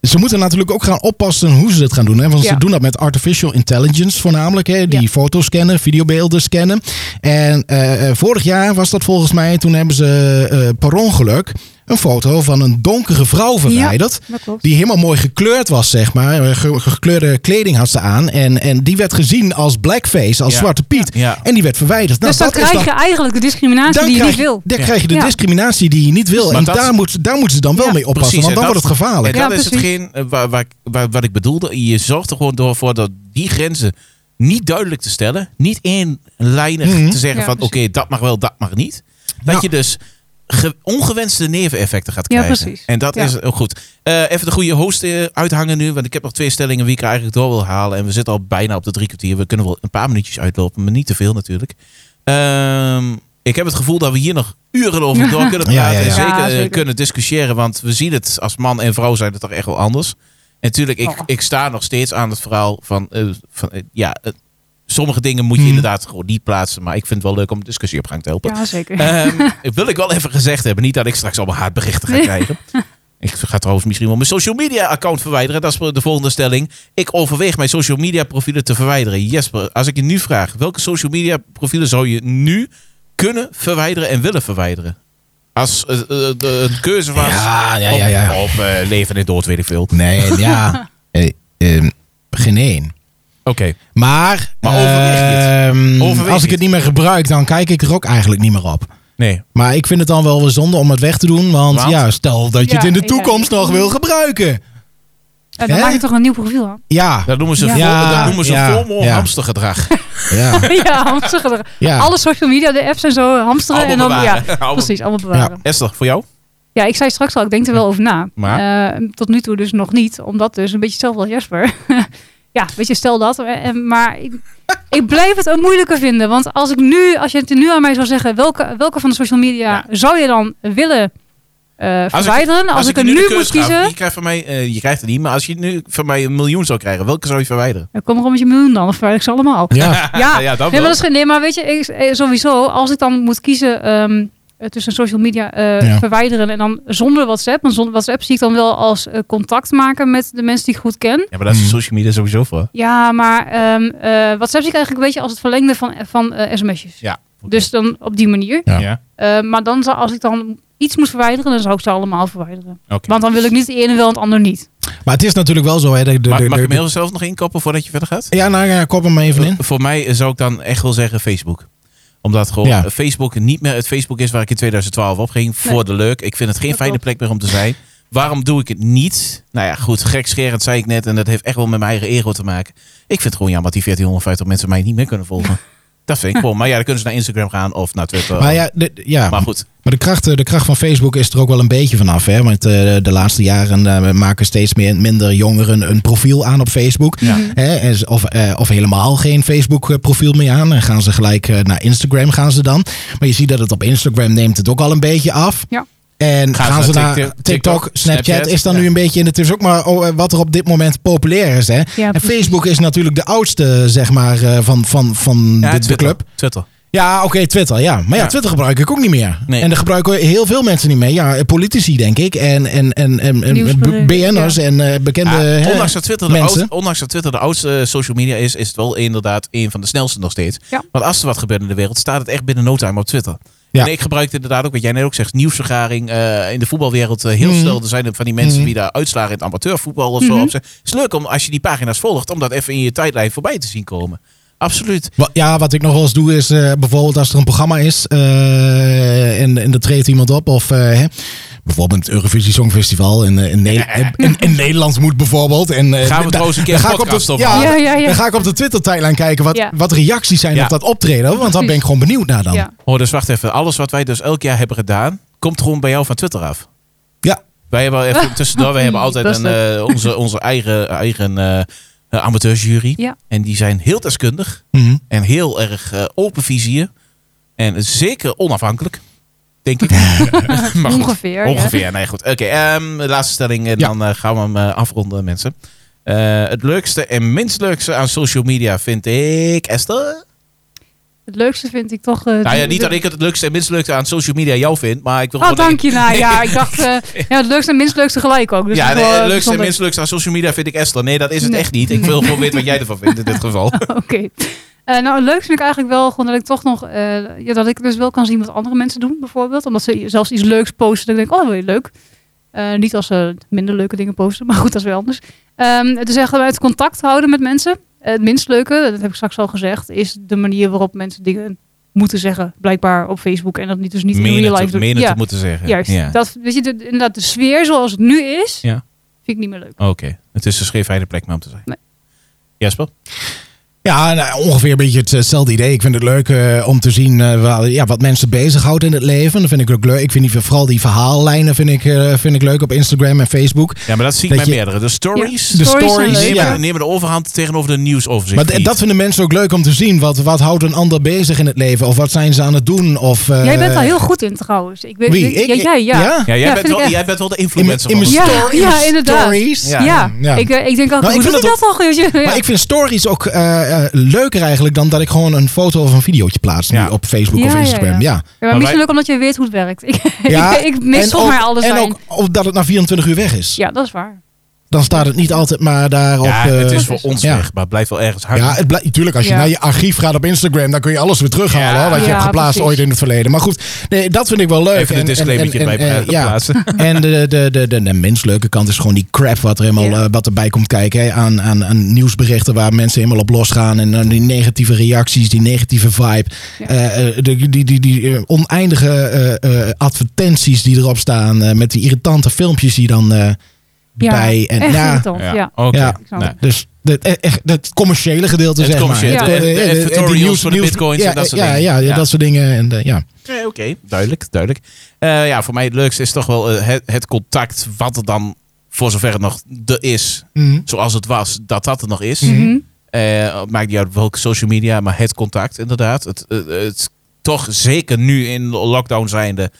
Speaker 2: ze moeten natuurlijk ook gaan oppassen hoe ze dit gaan doen. Hè? Want
Speaker 1: Ja.
Speaker 2: ze doen dat met artificial intelligence voornamelijk. Hè? Die
Speaker 1: Ja.
Speaker 2: foto's scannen, videobeelden scannen. En eh, eh, vorig jaar was dat volgens mij, toen hebben ze eh, per ongeluk een foto van een donkere vrouw verwijderd.
Speaker 1: dat klopt.
Speaker 2: Die helemaal mooi gekleurd was, zeg maar. Eh, ge- gekleurde kleding had ze aan. En, en die werd gezien als blackface, als
Speaker 3: Ja.
Speaker 2: Zwarte Piet.
Speaker 3: Ja.
Speaker 2: En die werd verwijderd. Nou,
Speaker 1: dus dan
Speaker 2: dat is
Speaker 1: krijg je eigenlijk de discriminatie
Speaker 2: daar
Speaker 1: die je
Speaker 2: krijg,
Speaker 1: niet wil.
Speaker 2: daar
Speaker 3: Ja.
Speaker 2: krijg je de
Speaker 1: Ja.
Speaker 2: discriminatie die je niet wil.
Speaker 3: Maar
Speaker 2: en
Speaker 3: dat-
Speaker 2: daar, moet, daar moeten ze dan wel
Speaker 1: Ja,
Speaker 2: mee oppassen. want
Speaker 3: precies,
Speaker 2: dan
Speaker 3: en
Speaker 2: wordt het
Speaker 3: En
Speaker 2: gevaarlijk.
Speaker 1: Ja,
Speaker 3: dat is
Speaker 1: precies.
Speaker 3: hetgeen eh, waar, waar, ik- waar, wat ik bedoelde. Je zorgt er gewoon door voor dat die grenzen niet duidelijk te stellen. Niet eenlijnig
Speaker 2: Mhm. Nou.
Speaker 3: te zeggen
Speaker 1: Ja,
Speaker 3: van oké,
Speaker 1: precies.
Speaker 3: dat mag wel, dat mag niet. Dat
Speaker 2: Ja.
Speaker 3: je dus ge- ongewenste neveneffecten gaat
Speaker 1: Ja,
Speaker 3: krijgen.
Speaker 1: precies.
Speaker 3: En dat
Speaker 1: Ja.
Speaker 3: is ook goed. Eh, even de goede host eh, uithangen nu. Want ik heb nog twee stellingen die ik eigenlijk door wil halen. En we zitten al bijna op de drie kwartier. We kunnen wel een paar minuutjes uitlopen, maar niet te veel natuurlijk. Ehm, ik heb het gevoel dat we hier nog uren
Speaker 2: *laughs*
Speaker 3: over door kunnen praten.
Speaker 2: Ja, ja, ja.
Speaker 3: En zeker,
Speaker 1: Ja,
Speaker 3: eh,
Speaker 1: zeker.
Speaker 3: kunnen discussiëren. Want we zien het als man en vrouw zijn het toch echt wel anders. En natuurlijk, ik,
Speaker 1: Oh.
Speaker 3: ik sta nog steeds aan het verhaal van... eh, van eh, ja, eh, sommige dingen moet je
Speaker 2: Hmm.
Speaker 3: inderdaad gewoon niet plaatsen. Maar ik vind het wel leuk om discussie op gang te helpen.
Speaker 1: Ja, zeker.
Speaker 3: Ehm, *laughs* wil ik wel even gezegd hebben. Niet dat ik straks allemaal haatberichten ga
Speaker 1: Nee.
Speaker 3: krijgen. Ik ga trouwens misschien wel mijn social media account verwijderen. Dat is de volgende stelling. Ik overweeg mijn social media profielen te verwijderen. Jesper, als ik je nu vraag. Welke social media profielen zou je nu kunnen verwijderen en willen verwijderen? Als eh, eh, de- een keuze was
Speaker 2: Ja, ja, ja, ja.
Speaker 3: op, op, eh, leven en dood, weet ik veel.
Speaker 2: *laughs*
Speaker 3: Oké.
Speaker 2: Nee, ja. Eh, ehm, geen één. Maar,
Speaker 3: Maar overweeg je het?
Speaker 2: ehm,
Speaker 3: Overweeg je
Speaker 2: als ik
Speaker 3: het?
Speaker 2: het niet meer gebruik, dan kijk ik er ook eigenlijk niet meer op.
Speaker 3: Nee.
Speaker 2: Maar ik vind het dan wel weer zonde om het weg te doen. Want,
Speaker 3: Want?
Speaker 2: ja, stel dat je het
Speaker 1: Ja,
Speaker 2: in de
Speaker 1: ja.
Speaker 2: toekomst nog wil gebruiken.
Speaker 1: En Eh, dan
Speaker 2: hè?
Speaker 1: maak je toch een nieuw profiel aan.
Speaker 2: Ja,
Speaker 3: Dat noemen ze,
Speaker 1: Ja.
Speaker 3: vol, dat noemen ze
Speaker 2: Ja,
Speaker 3: FOMO
Speaker 1: *laughs*
Speaker 2: ja.
Speaker 3: hamstergedrag.
Speaker 2: ja,
Speaker 1: *laughs* ja, hamsteren. *laughs*
Speaker 2: ja.
Speaker 1: Alle social media, de apps en zo, hamsteren.
Speaker 3: Allemaal
Speaker 1: en dan,
Speaker 3: bewaren.
Speaker 1: ja,
Speaker 3: Allemaal-
Speaker 1: precies, allemaal bewaren.
Speaker 3: Esther, voor jou?
Speaker 1: Ja, ik zei straks al, ik denk er wel over na.
Speaker 3: Maar?
Speaker 1: Eh, tot nu toe dus nog niet, omdat dus een beetje hetzelfde als Jasper. *laughs* ja, weet je, stel dat. eh, en- Maar ik, ik blijf het een moeilijke vinden. Want als ik nu, als je het nu aan mij zou zeggen, welke, welke van de social media zou je dan willen eh, verwijderen. Als, ik, er nu
Speaker 3: de
Speaker 1: moet
Speaker 3: keus gaf,
Speaker 1: kiezen,
Speaker 3: Je krijgt, van mij, eh, je krijgt het niet, maar als je nu van mij een miljoen zou krijgen, welke zou je verwijderen?
Speaker 1: dan kom er gewoon met je miljoen dan. Of verwijder ik ze allemaal.
Speaker 2: Ja,
Speaker 1: *laughs* Ja,
Speaker 3: ja, dat
Speaker 1: nee, maar
Speaker 3: Ah, wel.
Speaker 1: dat is geen. Nee, maar weet je, ik, eh, sowieso, als ik dan moet kiezen ehm, eh, tussen social media eh,
Speaker 2: Ja.
Speaker 1: verwijderen en dan zonder WhatsApp. Want zonder WhatsApp zie ik dan wel als eh, contact maken met de mensen die ik goed ken.
Speaker 3: Ja, maar daar is
Speaker 2: Hmm.
Speaker 3: social media sowieso voor.
Speaker 1: Ja, maar ehm, eh, WhatsApp zie ik eigenlijk een beetje als het verlengde van, van eh, sms'jes.
Speaker 3: Ja.
Speaker 1: Dus dan op die manier.
Speaker 2: Ja.
Speaker 3: Ja.
Speaker 1: Eh, maar dan zou, als ik dan iets moest verwijderen, dan zou ik ze allemaal verwijderen.
Speaker 3: Oké.
Speaker 1: Want dan wil ik niet de ene wel en het ander niet.
Speaker 2: maar het is natuurlijk wel zo. Hè, de, de,
Speaker 3: Mag,
Speaker 2: de-
Speaker 3: mag ik
Speaker 2: de-
Speaker 3: hem heel zelf nog inkoppen voordat je verder gaat?
Speaker 2: ja, nou ja, kop hem maar even in.
Speaker 3: Voor mij zou ik dan echt wel zeggen Facebook. Omdat gewoon
Speaker 2: Ja.
Speaker 3: Facebook niet meer het Facebook is waar ik in 2012 op ging. Voor de leuk. Ik vind het geen
Speaker 1: Dat
Speaker 3: fijne
Speaker 1: klopt.
Speaker 3: plek meer om te zijn. Waarom doe ik het niet? Nou ja, goed, gekscherend zei ik net. En dat heeft echt wel met mijn eigen ego te maken. Ik vind het gewoon jammer dat die 1450 mensen mij niet meer kunnen volgen. Dat
Speaker 1: *laughs*
Speaker 3: vind ik gewoon. Maar ja, dan kunnen ze naar Instagram gaan of naar Twitter.
Speaker 2: Maar ja, de, ja.
Speaker 3: maar goed.
Speaker 2: Maar de kracht, eh, de kracht van Facebook is er ook wel een beetje vanaf. Hè? Want eh, de laatste jaren eh, maken steeds meer, minder jongeren een profiel aan op Facebook.
Speaker 3: Ja.
Speaker 2: Hè? En ze- Of, eh, of helemaal geen Facebook-profiel meer aan. Dan gaan ze gelijk eh, naar Instagram gaan ze dan. Maar je ziet dat het op Instagram neemt het ook al een beetje af.
Speaker 1: Ja.
Speaker 2: En
Speaker 3: Gaan
Speaker 2: gaan,
Speaker 3: ze
Speaker 2: ze
Speaker 3: naar
Speaker 2: naar
Speaker 3: TikTok,
Speaker 2: TikTok,
Speaker 3: Snapchat,
Speaker 2: Snapchat, is dan
Speaker 3: ja.
Speaker 2: nu een beetje in de tussen. Ook maar oh, eh, wat er op dit moment populair is. Hè?
Speaker 1: Ja,
Speaker 2: en
Speaker 1: precies.
Speaker 2: Facebook is natuurlijk de oudste, zeg maar, eh, van, van, van
Speaker 3: Ja,
Speaker 2: de, de club.
Speaker 3: Twitter.
Speaker 2: Ja, oké, Twitter, ja. Maar ja,
Speaker 3: Ja.
Speaker 2: Twitter gebruik ik ook niet meer.
Speaker 3: Nee.
Speaker 2: En daar gebruiken heel veel mensen niet mee. Ja, politici, denk ik. En, en, en, en, en
Speaker 1: Nieuwsberichten,
Speaker 2: b- BN'ers en eh, bekende...
Speaker 3: Ja,
Speaker 2: hè.
Speaker 3: Ah, ondanks, dat Twitter de
Speaker 2: mensen.
Speaker 3: oud, ondanks dat Twitter de oudste eh, social media is, is het wel inderdaad een van de snelste nog steeds.
Speaker 1: Ja.
Speaker 3: Want als er wat gebeurt in de wereld, staat het echt binnen no time op Twitter.
Speaker 2: Ja.
Speaker 3: En ik gebruik inderdaad ook, wat jij net ook zegt, nieuwsvergaring eh, in de voetbalwereld. eh, heel
Speaker 2: Mhm.
Speaker 3: snel, er zijn er van die mensen
Speaker 2: Mhm.
Speaker 3: die daar uitslagen in het amateurvoetbal of zo.
Speaker 1: Mhm.
Speaker 3: op zijn. Het is leuk om, als je die pagina's volgt, om dat even in je tijdlijn voorbij te zien komen. Absoluut.
Speaker 2: Wa- Ja, wat ik nog wel eens doe is eh, bijvoorbeeld als er een programma is eh, en, en er treedt iemand op. Of eh, hè, bijvoorbeeld het Eurovisie Songfestival in, eh, in,
Speaker 3: *laughs*
Speaker 2: Ne- in, in Nederland moet bijvoorbeeld. En, eh,
Speaker 3: Gaan we
Speaker 2: da-
Speaker 3: trouwens een keer
Speaker 2: dan
Speaker 3: een
Speaker 2: ga ik op de-
Speaker 3: podcast op
Speaker 2: ja,
Speaker 1: Ja, ja,
Speaker 2: Dan
Speaker 1: ja.
Speaker 2: ga ik op de Twitter-tijdlijn kijken wat,
Speaker 1: Ja.
Speaker 2: wat reacties zijn
Speaker 3: Ja.
Speaker 2: op dat optreden. Want daar ben ik
Speaker 1: Precies.
Speaker 2: gewoon benieuwd naar dan.
Speaker 1: Ja.
Speaker 3: Oh, dus wacht even. Alles wat wij dus elk jaar hebben gedaan, komt gewoon bij jou van Twitter af.
Speaker 2: Ja.
Speaker 3: Wij hebben
Speaker 1: *laughs*
Speaker 3: even tussendoor, wij hebben altijd
Speaker 1: Dat is
Speaker 3: een, eh, onze, onze eigen, eigen eh, eh, amateurjury.
Speaker 1: Ja.
Speaker 3: En die zijn heel deskundig
Speaker 2: Mhm.
Speaker 3: en heel erg eh, open vizier. En zeker onafhankelijk,
Speaker 1: *laughs*
Speaker 3: denk ik. *laughs* maar goed,
Speaker 1: Ongeveer. ja.
Speaker 3: ongeveer. Nee, goed. Oké, ehm, de laatste stelling en
Speaker 2: Ja.
Speaker 3: dan eh, gaan we hem eh, afronden, mensen. Eh, het leukste en minst leukste aan social media vind ik, Esther?
Speaker 1: Het leukste vind ik toch... eh,
Speaker 3: Nou ja,
Speaker 1: die-
Speaker 3: niet dat ik het het leukste en minst leukste aan social media jou vind, maar ik wil
Speaker 1: Oh,
Speaker 3: gewoon...
Speaker 1: dank je. Nou ja, ik
Speaker 3: *laughs*
Speaker 1: dacht eh, ja, het leukste en minst leukste gelijk ook. Dus
Speaker 3: ja,
Speaker 1: dat
Speaker 3: nee,
Speaker 1: is wel,
Speaker 3: het
Speaker 1: eh,
Speaker 3: leukste en
Speaker 1: bijzonder.
Speaker 3: minst leukste aan social media vind ik Esther. Nee, dat is het
Speaker 1: Nee.
Speaker 3: echt niet. Ik wil gewoon weten wat jij ervan vindt in dit
Speaker 1: *laughs*
Speaker 3: geval.
Speaker 1: Oké. Eh, nou, het leukste vind ik eigenlijk wel gewoon dat ik toch nog... eh, ja, dat ik dus wel kan zien wat andere mensen doen, bijvoorbeeld. Omdat ze zelfs iets leuks posten. Dat ik denk, oh, wel leuk. Eh, niet als ze minder leuke dingen posten, *laughs* maar goed, dat is weer anders. Ehm dus echt uit contact houden met mensen. Eh, het minst leuke, dat heb ik straks al gezegd, is de manier waarop mensen dingen moeten zeggen. Blijkbaar op Facebook en dat niet dus niet in real life doen. ja,
Speaker 3: moeten zeggen.
Speaker 1: juist.
Speaker 3: Ja.
Speaker 1: Dat, weet je, de, inderdaad, de sfeer zoals het nu is,
Speaker 3: Ja.
Speaker 1: vind ik niet meer leuk.
Speaker 3: Oké, het is een scheefheid plek maar om te zijn.
Speaker 1: Nee.
Speaker 3: Jasper?
Speaker 2: Ja, nou, ongeveer een beetje het- hetzelfde idee. Ik vind het leuk eh, om te zien eh, waar- ja, wat mensen bezighoudt in het leven. Dat vind ik ook leuk. Ik vind die, vooral die verhaallijnen vind ik, eh, vind ik leuk op Instagram en Facebook.
Speaker 3: Ja, maar dat zie ik
Speaker 2: Dat
Speaker 3: bij
Speaker 2: je-
Speaker 3: meerdere. De stories
Speaker 1: Ja.
Speaker 2: De
Speaker 1: Stories zijn
Speaker 2: stories.
Speaker 1: leuk,
Speaker 2: ja.
Speaker 3: nemen, nemen de overhand tegenover de nieuwsoverzicht.
Speaker 2: Maar d- dat vinden mensen ook leuk om te zien. Wat, wat houdt een ander bezig in het leven? Of wat zijn ze aan het doen? Of, eh,
Speaker 1: Jij bent daar heel goed in trouwens. Ik weet,
Speaker 2: Wie?
Speaker 1: Ja,
Speaker 2: Ik?
Speaker 1: jij, ja.
Speaker 3: ja, jij,
Speaker 1: Ja,
Speaker 3: bent
Speaker 1: vind
Speaker 3: wel,
Speaker 1: ik echt.
Speaker 3: jij bent wel de
Speaker 2: In mijn,
Speaker 3: influencer
Speaker 2: in mijn
Speaker 3: van
Speaker 1: Ja,
Speaker 3: ons.
Speaker 2: stories.
Speaker 1: ja, inderdaad.
Speaker 2: stories.
Speaker 3: Ja.
Speaker 1: Ja,
Speaker 2: ja.
Speaker 1: Ik, eh, ik denk altijd,
Speaker 2: Nou, ik
Speaker 1: hoe doe
Speaker 2: vind
Speaker 1: ik dat
Speaker 2: het
Speaker 1: al? Geurtje? Ja.
Speaker 2: Maar ik vind stories ook eh, eh, leuker eigenlijk dan dat ik gewoon een foto of een videootje plaats nu
Speaker 3: Ja.
Speaker 2: op Facebook of
Speaker 1: Ja, ja,
Speaker 2: Instagram. Ja,
Speaker 1: Ja, maar
Speaker 3: wij-
Speaker 1: misschien ook omdat je weet hoe het werkt. *laughs* Ik,
Speaker 2: Ja,
Speaker 1: ik, ik mis
Speaker 2: en
Speaker 1: toch
Speaker 2: ook-
Speaker 1: maar alles
Speaker 2: En
Speaker 1: daarin.
Speaker 2: ook ook dat het na 24 uur weg is.
Speaker 1: Ja, dat is waar.
Speaker 2: dan staat het niet altijd maar daarop.
Speaker 3: Ja, het
Speaker 2: eh,
Speaker 3: is voor ons
Speaker 2: ja.
Speaker 3: weg, maar het blijft wel ergens hangen.
Speaker 2: Ja, het blijkt natuurlijk. Als je
Speaker 1: Ja.
Speaker 2: naar je archief gaat op Instagram, dan kun je alles weer terughalen.
Speaker 3: Ja.
Speaker 2: hoor, wat je
Speaker 1: Ja,
Speaker 2: hebt geplaatst
Speaker 1: precies.
Speaker 2: ooit in het verleden. Maar goed, nee, dat vind ik wel leuk.
Speaker 3: Even een
Speaker 2: En- en-
Speaker 3: disclaimertje
Speaker 2: en-
Speaker 3: erbij
Speaker 2: en-
Speaker 3: eh,
Speaker 2: ja.
Speaker 3: plaatsen.
Speaker 2: En de, de, de, de, de minst leuke kant is gewoon die crap wat, er helemaal,
Speaker 1: Ja.
Speaker 2: eh, wat erbij komt kijken. Hè, aan, aan, aan nieuwsberichten waar mensen helemaal op losgaan. En dan die negatieve reacties, die negatieve vibe.
Speaker 1: Ja.
Speaker 2: Eh, eh, de- die, die, die, eh, oneindige eh, eh, advertenties die erop staan. eh, met die irritante filmpjes die dan eh,
Speaker 1: Ja,
Speaker 2: bij. En,
Speaker 1: Echt
Speaker 2: ja,
Speaker 1: irritant, ja.
Speaker 3: oké.
Speaker 2: Ja.
Speaker 1: snap het.
Speaker 2: Dus het, echt, het commerciële gedeelte,
Speaker 3: Het
Speaker 2: zeg
Speaker 3: commerciële,
Speaker 2: maar.
Speaker 1: de-
Speaker 2: Eh,
Speaker 3: de- de
Speaker 2: eh, eh,
Speaker 3: tutorials
Speaker 2: die nieuws-
Speaker 3: voor de
Speaker 2: nieuws-
Speaker 3: bitcoins en
Speaker 2: ja,
Speaker 3: dat soort
Speaker 2: ja,
Speaker 3: dingen.
Speaker 2: Ja, ja,
Speaker 3: Ja.
Speaker 2: dat soort dingen. En, eh, ja.
Speaker 3: Nee, oké. Duidelijk, duidelijk. Eh, ja, voor mij het leukste is toch wel eh, het, het contact wat er dan, voor zover het nog er is,
Speaker 2: Mhm.
Speaker 3: zoals het was, dat dat er nog is.
Speaker 2: Mhm.
Speaker 1: Mhm.
Speaker 3: Eh, maakt niet uit welke social media, maar het contact inderdaad. Het, eh, het, toch zeker nu in lockdown zijnde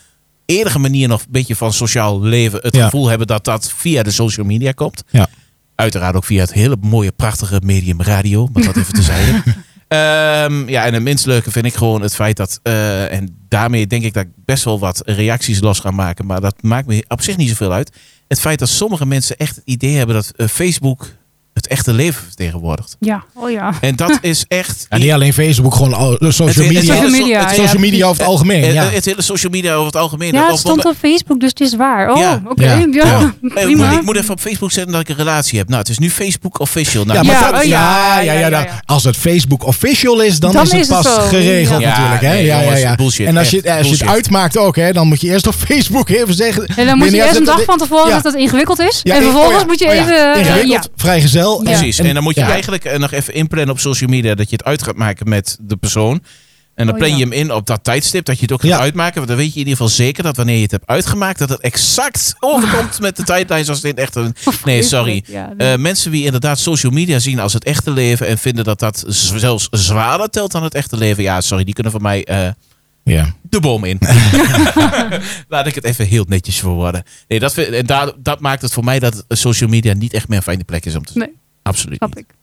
Speaker 3: eerdere manier nog een beetje van sociaal leven het
Speaker 2: Ja.
Speaker 3: gevoel hebben dat dat via de social media komt.
Speaker 2: Ja.
Speaker 3: Uiteraard ook via het hele mooie, prachtige medium radio. Maar dat even
Speaker 2: *laughs*
Speaker 3: tezijde. Ehm ja, en het minst leuke vind ik gewoon het feit dat... eh, en daarmee denk ik dat ik best wel wat reacties los ga maken. Maar dat maakt me op zich niet zoveel uit. Het feit dat sommige mensen echt het idee hebben dat eh, Facebook het echte leven vertegenwoordigt.
Speaker 1: Ja, oh ja.
Speaker 3: En dat is echt...
Speaker 2: En niet alleen Facebook, gewoon al, de social
Speaker 3: Het- het-
Speaker 2: media.
Speaker 1: Social media,
Speaker 3: het-
Speaker 2: social media over het algemeen.
Speaker 3: eh,
Speaker 2: ja.
Speaker 3: eh, Het hele social media over het algemeen.
Speaker 1: Ja,
Speaker 3: dat-
Speaker 1: het
Speaker 3: of-
Speaker 1: stond op Facebook, dus het is waar. Oh,
Speaker 3: Ja.
Speaker 1: oké.
Speaker 2: Ja.
Speaker 1: Ja,
Speaker 2: Ja.
Speaker 3: Eh,
Speaker 1: prima.
Speaker 3: Ik moet even op Facebook zetten dat ik een relatie heb. Nou, het is nu Facebook official. Nou,
Speaker 2: Ja, maar
Speaker 1: Ja,
Speaker 2: dat-
Speaker 1: oh
Speaker 2: ja,
Speaker 1: ja,
Speaker 2: ja, ja,
Speaker 1: ja, ja,
Speaker 2: dat-
Speaker 1: ja.
Speaker 2: Als het Facebook official is, dan,
Speaker 1: Dan
Speaker 2: is het
Speaker 1: is het
Speaker 2: pas
Speaker 1: zo.
Speaker 2: geregeld
Speaker 3: Ja.
Speaker 2: natuurlijk.
Speaker 3: Ja,
Speaker 2: Hè?
Speaker 3: nee,
Speaker 2: Ja, ja,
Speaker 3: jongens,
Speaker 2: ja.
Speaker 3: bullshit,
Speaker 2: en als je,
Speaker 3: echt,
Speaker 2: als je het
Speaker 3: bullshit.
Speaker 2: uitmaakt ook, hè, dan moet je eerst op *laughs* Facebook even zeggen.
Speaker 1: En dan moet je
Speaker 2: Meneer,
Speaker 1: eerst een
Speaker 2: dat-
Speaker 1: dag van tevoren
Speaker 2: ja.
Speaker 1: dat dat ingewikkeld is.
Speaker 2: Ja,
Speaker 1: en
Speaker 2: eh, oh
Speaker 1: vervolgens
Speaker 2: ja,
Speaker 1: moet je
Speaker 2: oh ja,
Speaker 1: even... eh,
Speaker 2: ingewikkeld, vrijgezel.
Speaker 1: Ja.
Speaker 3: Precies. En dan moet je
Speaker 2: ja.
Speaker 3: eigenlijk eh, nog even inplannen op social media dat je het uit gaat maken met de persoon. En dan
Speaker 1: Oh,
Speaker 3: plan je
Speaker 1: ja.
Speaker 3: hem in op dat tijdstip dat je het ook gaat
Speaker 2: Ja.
Speaker 3: uitmaken. Want dan weet je in ieder geval zeker dat wanneer je het hebt uitgemaakt, dat het exact overkomt met de tijdlijn zoals dit echt een. Nee, sorry.
Speaker 1: Ja, nee.
Speaker 3: Eh, mensen die inderdaad social media zien als het echte leven en vinden dat dat z- zelfs zwaarder telt dan het echte leven. Ja, sorry, die kunnen van mij eh,
Speaker 2: Ja.
Speaker 3: de boom
Speaker 1: *laughs*
Speaker 3: in. Laat ik het even heel netjes verwoorden. Nee, dat, vind, en daar, dat maakt het voor mij dat social media niet echt meer een fijne plek is om te
Speaker 1: Nee,
Speaker 3: Absoluut
Speaker 1: snap
Speaker 3: niet.
Speaker 1: ik.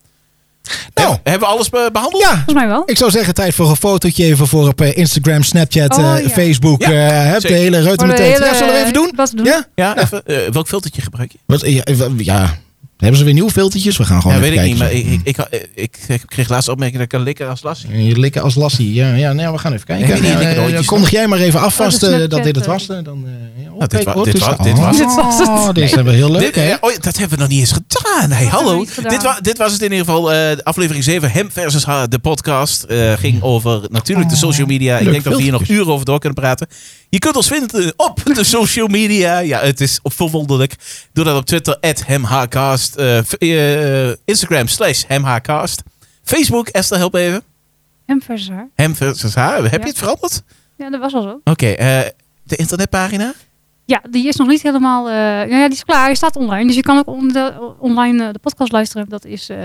Speaker 2: Nou,
Speaker 3: Heb- Hebben we alles be- behandeld?
Speaker 2: ja.
Speaker 1: Volgens mij wel.
Speaker 2: Ik zou zeggen, tijd voor een fotootje even voor op eh, Instagram, Snapchat,
Speaker 1: Oh,
Speaker 2: eh,
Speaker 1: ja.
Speaker 2: Facebook.
Speaker 3: Ja,
Speaker 2: eh, hup, de
Speaker 3: zeker.
Speaker 2: hele reuter
Speaker 1: Voor de
Speaker 2: meteen.
Speaker 1: hele-
Speaker 2: Ja, zullen we even doen?
Speaker 1: Wat we doen.
Speaker 2: Ja?
Speaker 3: Ja, even. eh, welk filtertje gebruik je?
Speaker 2: Wat, ja, eh, wa- ja. Hebben ze weer nieuwe filtertjes? We gaan gewoon
Speaker 3: ja, weet
Speaker 2: even
Speaker 3: ik niet, maar
Speaker 2: kijken. Hm.
Speaker 3: ik, ik, ik, ik- ik kreeg laatst opmerking dat ik een likker als las.
Speaker 2: Je likken als lassie. Ja, ja nou, we gaan even kijken.
Speaker 3: Nee, nee,
Speaker 2: Nou,
Speaker 3: nee,
Speaker 2: eh,
Speaker 3: nee, nee,
Speaker 2: kondig jij maar even af
Speaker 1: dat
Speaker 2: vast
Speaker 1: is
Speaker 2: eh,
Speaker 1: net,
Speaker 2: dat dit
Speaker 1: eh,
Speaker 2: het was. eh, Dan, eh, ja, oh,
Speaker 3: Nou, dit
Speaker 2: kijk,
Speaker 3: wa-
Speaker 2: oh,
Speaker 3: dit
Speaker 2: het is-
Speaker 3: wa- dit was
Speaker 1: het. Dit was het.
Speaker 2: Oh, dit is wel heel leuk,
Speaker 3: Dit,
Speaker 2: hè?
Speaker 3: eh, oh, ja, dat hebben we nog niet eens gedaan. Hey,
Speaker 1: hebben we
Speaker 3: hallo.
Speaker 1: niet gedaan.
Speaker 3: Dit, wa- dit was het in ieder geval. eh, aflevering 7, Hem versus Haar, de podcast. eh, ging over natuurlijk
Speaker 1: Ah.
Speaker 3: de social media. Ik
Speaker 2: Leuk
Speaker 3: denk dat we hier nog
Speaker 2: filmpjes.
Speaker 3: uren over door kunnen praten. Je kunt ons vinden eh, op
Speaker 2: *laughs*
Speaker 3: de social media. Ja, het is verwonderlijk. Doe dat op Twitter, hemhcast. eh, v- eh, Instagram, slash hemhcast. Facebook, Esther, help even.
Speaker 1: En versus haar.
Speaker 3: Hem versus haar. Heb je
Speaker 1: Ja.
Speaker 3: het veranderd?
Speaker 1: Ja, dat was al zo.
Speaker 3: Oké, eh, de internetpagina?
Speaker 1: Ja, die is nog niet helemaal... eh, nou ja, die is klaar. Die staat online. Dus je kan ook on- de- online eh, de podcast luisteren. Dat is eh,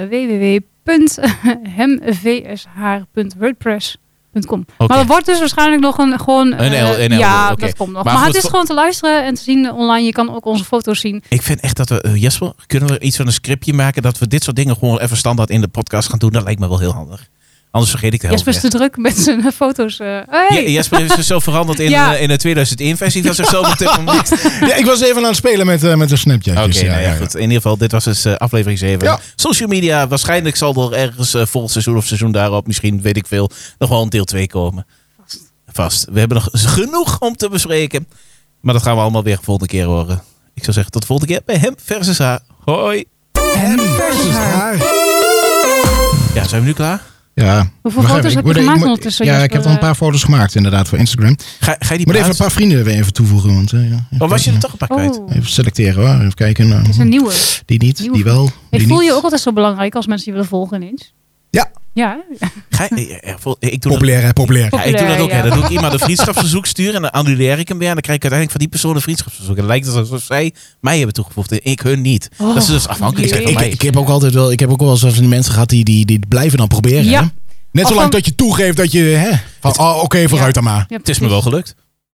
Speaker 1: www.hemvshaar.wordpress.com.
Speaker 3: Oké.
Speaker 1: Maar er wordt dus waarschijnlijk nog een gewoon... eh,
Speaker 3: Een L- een L,
Speaker 1: ja,
Speaker 3: oké.
Speaker 1: dat komt nog.
Speaker 3: Maar
Speaker 1: Maar,
Speaker 3: goed,
Speaker 1: het is
Speaker 3: voor-
Speaker 1: gewoon te luisteren en te zien eh, online. Je kan ook onze foto's zien.
Speaker 3: Ik vind echt dat we, eh, Jesper, kunnen we iets van een scriptje maken dat we dit soort dingen gewoon even standaard in de podcast gaan doen? Dat lijkt me wel heel handig. Anders vergeet ik de helft.
Speaker 1: Jesper is te
Speaker 3: weer.
Speaker 1: druk met zijn foto's. eh hey.
Speaker 3: Je- Jesper heeft zichzelf veranderd
Speaker 1: *laughs*
Speaker 3: in,
Speaker 1: Ja.
Speaker 3: eh, in de 2001-versie van zichzelf op dit
Speaker 2: *laughs*
Speaker 3: moment. Oké,
Speaker 2: Ja, ik was even aan het spelen met, eh, met de Snapchatjes. ja,
Speaker 3: nou ja,
Speaker 2: ja,
Speaker 3: goed. In ieder geval, dit was dus eh, aflevering 7.
Speaker 2: Ja.
Speaker 3: Social media, waarschijnlijk zal er ergens eh, volgend seizoen of seizoen daarop, misschien weet ik veel, nog wel een deel 2 komen.
Speaker 1: Vast.
Speaker 3: Vast. We hebben nog *laughs* genoeg om te bespreken. Maar dat gaan we allemaal weer de volgende keer horen. Ik zou zeggen, tot de volgende keer bij hem versus haar. Hoi.
Speaker 2: Hem versus haar.
Speaker 3: Ja, zijn we nu klaar?
Speaker 2: Ja.
Speaker 1: Hoeveel
Speaker 2: Wacht
Speaker 1: foto's
Speaker 2: even,
Speaker 1: heb
Speaker 2: ik
Speaker 1: je
Speaker 2: moet- ik
Speaker 1: gemaakt
Speaker 2: moet-
Speaker 1: ondertussen,
Speaker 2: Ja, ik
Speaker 1: Jasper?
Speaker 2: heb al een paar foto's gemaakt inderdaad voor Instagram.
Speaker 3: Ga, ga je die
Speaker 2: Ik moet even een
Speaker 3: plaatsen?
Speaker 2: paar vrienden weer even toevoegen. Want, eh, ja.
Speaker 3: Oh, was je er toch een paar kwijt?
Speaker 1: Oh,
Speaker 2: Even selecteren hoor. Even kijken. nou,
Speaker 1: het is een nieuwe.
Speaker 2: die niet, die wel.
Speaker 1: Ik
Speaker 2: die
Speaker 1: voel
Speaker 2: niet.
Speaker 1: je ook altijd zo belangrijk als mensen je willen volgen ineens.
Speaker 2: Ja.
Speaker 1: Ja, hè?
Speaker 3: Ga je- eh, eh, vol- eh, ik doe dat,
Speaker 2: Populair hè, populair.
Speaker 3: ja, ik doe dat ook.
Speaker 1: Populair,
Speaker 3: Hè.
Speaker 1: ja.
Speaker 3: Dan doe ik iemand een vriendschapsverzoek sturen en dan annuleer ik hem weer. En dan krijg ik uiteindelijk van die persoon een vriendschapsverzoek. En het lijkt alsof zij mij hebben toegevoegd en ik hun niet.
Speaker 1: Oh,
Speaker 3: dat is dus afhankelijk zijn van
Speaker 1: jee.
Speaker 2: Ik,
Speaker 3: mij.
Speaker 2: ik heb ook altijd wel, ik heb ook wel eens van die mensen gehad die, die, die blijven dan proberen.
Speaker 1: Ja.
Speaker 2: hè? Net
Speaker 1: Of
Speaker 2: zolang
Speaker 1: van-
Speaker 2: dat je toegeeft dat je, hè, van, oh, oké, vooruit dan maar.
Speaker 1: Ja,
Speaker 3: het is me wel gelukt.